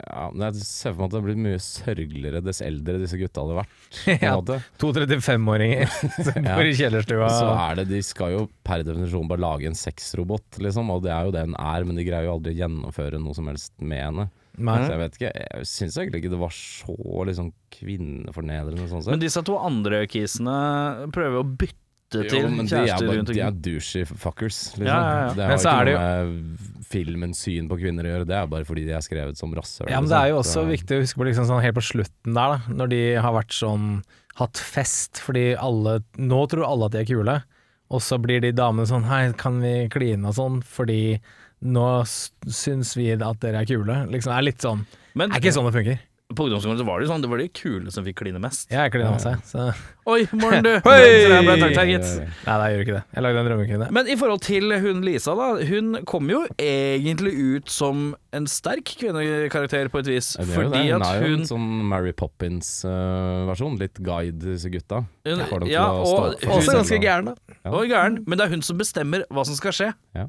Ja, men jeg ser for meg at det blir mye sørgeligere dess eldre disse gutta hadde vært. på en
Ja.
måte.
To 35-åringer som
Ja.
bor i kjellerstua.
Så er det, De skal jo per definisjon bare lage en sexrobot, liksom, og det er jo det den er, men de greier jo aldri å gjennomføre noe som helst med henne.
Nei.
Så jeg vet ikke, jeg syns egentlig ikke det var så liksom kvinnefornedrende sånn
Men
sett.
disse to andre kissene prøver å bytte til
Jo, men de er,
kjærester
bare,
rundt
de er douchey fuckers, liksom.
Ja, ja, ja.
Det
Men
har
så
ikke
er det
noe med filmens syn på kvinner å gjøre, det er bare fordi de er skrevet som rasshøl.
Ja, men
liksom.
det er jo også
Så-
viktig å huske på liksom sånn helt på slutten der, da, når de har vært sånn hatt fest, fordi alle Nå tror alle at de er kule, og så blir de damene sånn Hei, kan vi kline og sånn, fordi nå s- syns vi at dere er kule. Liksom, det er litt sånn
Men
Det er ikke sånn det funker.
på ungdomsskolen så var det jo sånn, det var de kule som fikk kline mest.
Jeg er klina med seg, så
Oi, morgen du!
Hei!
Så jeg ble takt her, gitt.
Nei, nei, jeg gjør ikke det. Jeg lagde en drømmekvinne.
Men i forhold til hun Lisa, da. Hun kom jo egentlig ut som en sterk kvinnekarakter, på et vis.
Ja, det er jo
Fordi
det.
at
er jo
hun
en sånn Mary Poppins-versjon. litt guide disse gutta.
Hun-
Får dem til
ja,
å
og-
stå for
også
seg selv
ganske
og-
gæren, da.
Å, gæren. Men det er hun som bestemmer hva som skal skje.
Ja.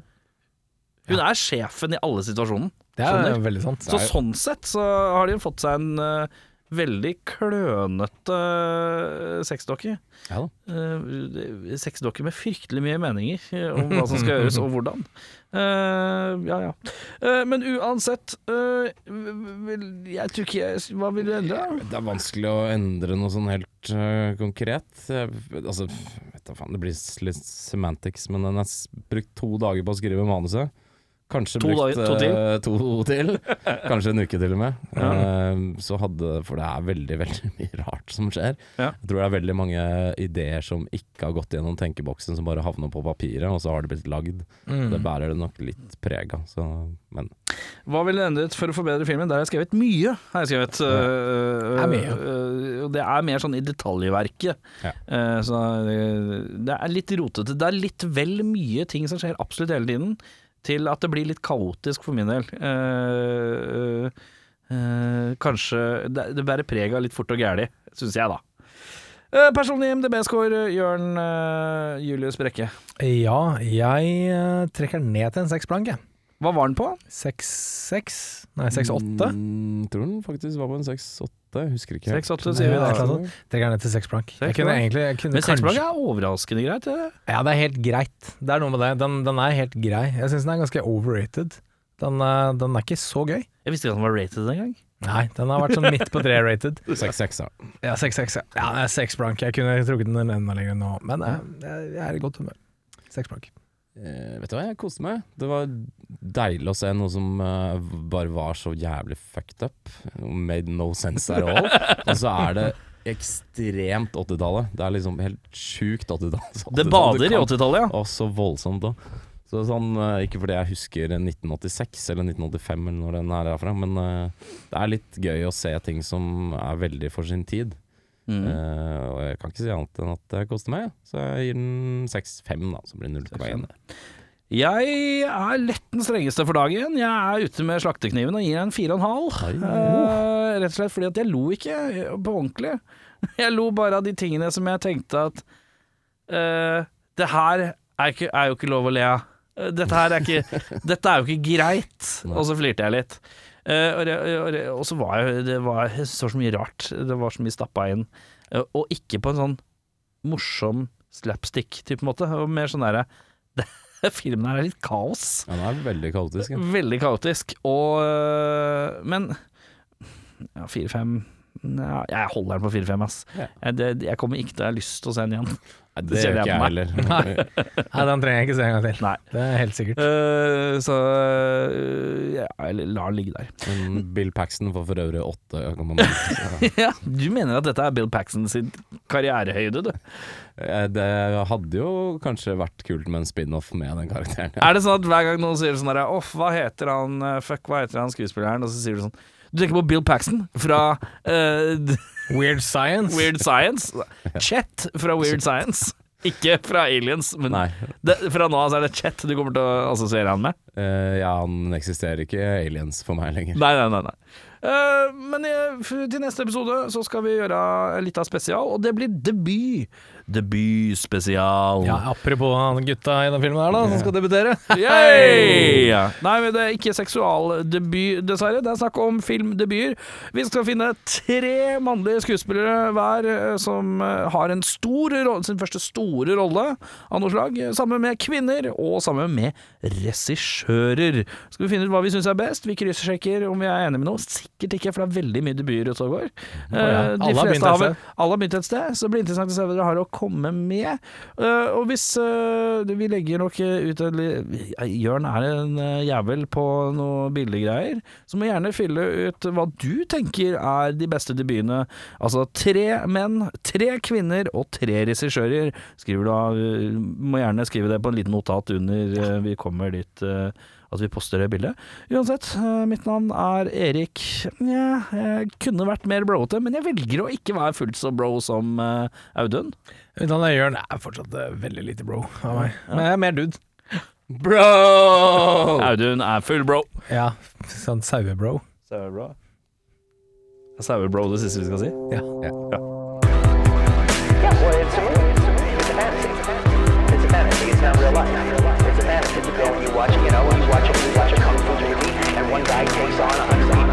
Hun er sjefen i alle situasjonen.
Det er
Skjønner.
veldig sant.
Så
Det er jo-
sånn sett så har de fått seg en eh, veldig klønete uh, sexdokke.
Ja da.
Eh, Sexdokker med fryktelig mye meninger eh, om hva som skal gjøres, og hvordan. Eh, ja, ja. Eh, men uansett eh, vel, Jeg tror ikke jeg Hva vil du endre? da?
Det er vanskelig å endre noe sånn helt øh, konkret. Jeg, altså, vet da faen, det blir s- litt semantics, men den er s- brukt to dager på å skrive manuset. Kanskje
To
brukt
dager- to
øh, to til. Kanskje en uke til og med. Eh, så hadde, for det er veldig veldig mye rart som skjer.
Ja.
Jeg tror det er veldig mange ideer som ikke har gått gjennom tenkeboksen, som bare havner på papiret, og så har det blitt lagd.
Mm.
Det bærer det nok litt preg av. så- Men
Hva ville du endret for å forbedre filmen? Der har jeg skrevet mye. Har jeg skrevet
Det er
Eh,
mye.
eh, og det er mer sånn i detaljverket.
Ja.
Eh, så eh, det er litt rotete. Det er litt vel mye ting som skjer absolutt hele tiden, til at det blir litt kaotisk for min del. Eh, eh, eh, kanskje Det, det bærer preg av litt fort og gæli, syns jeg, da. Eh, personlig MDB-score, Jørn eh, Julius Brekke.
Ja, jeg eh, trekker ned til en seksplank, jeg.
Hhva var den på?
Seks, seks? Nei, seks, åtte?
Mm, tror den faktisk var på en 6-8, husker ikke.
6-8,
Nei,
sier vi
et eller
da.
annet sånt. Trekker ned til seksplank. Jeg kunne
Seksplank?
egentlig jeg kunne
Men
kanskje-
seksplagg er overraskende greit. Det.
Ja, det er helt greit. Det er noe med det. Den, den er helt grei. Jeg syns den er ganske overrated. Den, eh, den er ikke så gøy.
Jeg visste ikke at den var rated engang.
Nei, den har vært sånn midt på tre rated.
6-6, ja.
Ja, seks, seks. Ja, ja det er seks blank. Jeg kunne trukket den enda lenger nå, men eh, jeg, jeg er i godt humør. Seks blank.
Eh, vet du hva, jeg koste meg. Det var deilig å se noe som eh, bare var så jævlig fucked up. Made no sense at all. Og så er det ekstremt 80-tallet. Det er liksom helt sjukt 80-tallet.
Det bader i 80-tallet, ja.
Og så voldsomt òg. Så sånn, eh, ikke fordi jeg husker 1986 eller 1985 eller når den her er fra, men eh, det er litt gøy å se ting som er veldig for sin tid.
Mm.
Eh, og jeg kan ikke si annet enn at det koster meg, så jeg gir den 6-5, da. Så blir det 0,1.
Jeg er lett den strengeste for dagen. Jeg er ute med slaktekniven og gir en fire og en halv.
Oi.
Eh, Rett og slett fordi at jeg lo ikke eh, på ordentlig. Jeg lo bare av de tingene som jeg tenkte at eh, Det her er, ikke, er jo ikke lov å le av. Eh, Dette her er ikke Dette er jo ikke greit. Og så flirte jeg litt. Eh, og, det, og, det, og så var jeg Det var jeg synes det var så mye rart. Det var så mye stappa inn. Eh, og ikke på en sånn morsom slapstick-type måte. Og mer sånn derre Filmen her er litt kaos.
Ja, den er veldig kaotisk. Ja.
Veldig kaotisk. Og øh, Men ja, fire-fem ja, Jeg holder den på fire-fem, ass.
Ja.
Jeg, det, jeg kommer ikke til å ha lyst til å se den igjen.
Nei,
Det
det
ser
gjør
jeg
ikke jeg
på
heller.
Nei, den trenger jeg ikke se en gang til.
Nei.
Det er helt sikkert.
Øh, så øh, ja, jeg lar den ligge der.
Men Bill Paxton får for øvrig åtte. kan man- Ja.
Ja, du mener at dette er Bill Paxton sin karrierehøyde, du?
Eh, Det hadde jo kanskje vært kult med en spin-off med den karakteren.
Er det sånn at hver gang noen sier sånn derre Off, hva heter han øh, Fuck, hva heter han skuespilleren? Og så sier du sånn Du tenker på Bill Paxton fra øh,
Weird science.
Weird Science. Chet fra Weird Science. Ikke fra Aliens, men
Nei.
det, fra nå av så er det Chet du kommer til å assosiere han med.
Eh, ja, han eksisterer ikke i aliens for meg lenger.
Nei, nei, nei. nei. Eh, men eh, f- til neste episode så skal vi gjøre litt av spesial, og det blir debut. Debutspesial.
Ja, apropos han gutta i den filmen her, da, som skal debutere.
Yay! Nei, men det er ikke seksualdebut, dessverre. Det er snakk om filmdebuter. Vi skal finne tre mannlige skuespillere hver eh, som eh, har en stor rolle, sin første store rolle av noe slag, eh, sammen med kvinner og sammen med regissører. Skal vi finne ut hva vi syns er best? Vi kryssjekker om vi er enige med noe. Sikkert ikke, for det er veldig mye debuter ute og går. Eh,
Alle
De
har begynt
fleste
et
har vel
sted.
alle har begynt et sted, så det blir interessant å se hva dere har å komme med. Eh, og hvis eh, Vi legger nok eh, ut en li- Jørn er en eh, jævel på noe billiggreier, så må gjerne fylle ut hva du tenker er de beste debutene. Altså tre menn, tre kvinner og tre regissører. Skriver du av eh, Må gjerne skrive det på en liten notat under eh, vi kommer dit. eh, at vi poster det bildet. Uansett, eh, mitt navn er Erik. Nja, jeg kunne vært mer broete, men jeg velger å ikke være fullt så bro som eh, Audun.
Utan det Jørn er fortsatt eh, veldig lite bro av meg. Men jeg er mer dude.
Bro!
Audun er full bro.
Ja, sånn sauebro.
Sauebro. Sauebro, det siste vi skal si.
Ja.
Yeah, well, it's a movie. It's a movie. It's a fantasy. It's a fantasy. It's not real life. It's a fantasy. You go and you watch, you know, you watch a, you watch a kung fu movie, and one guy takes on a hundred,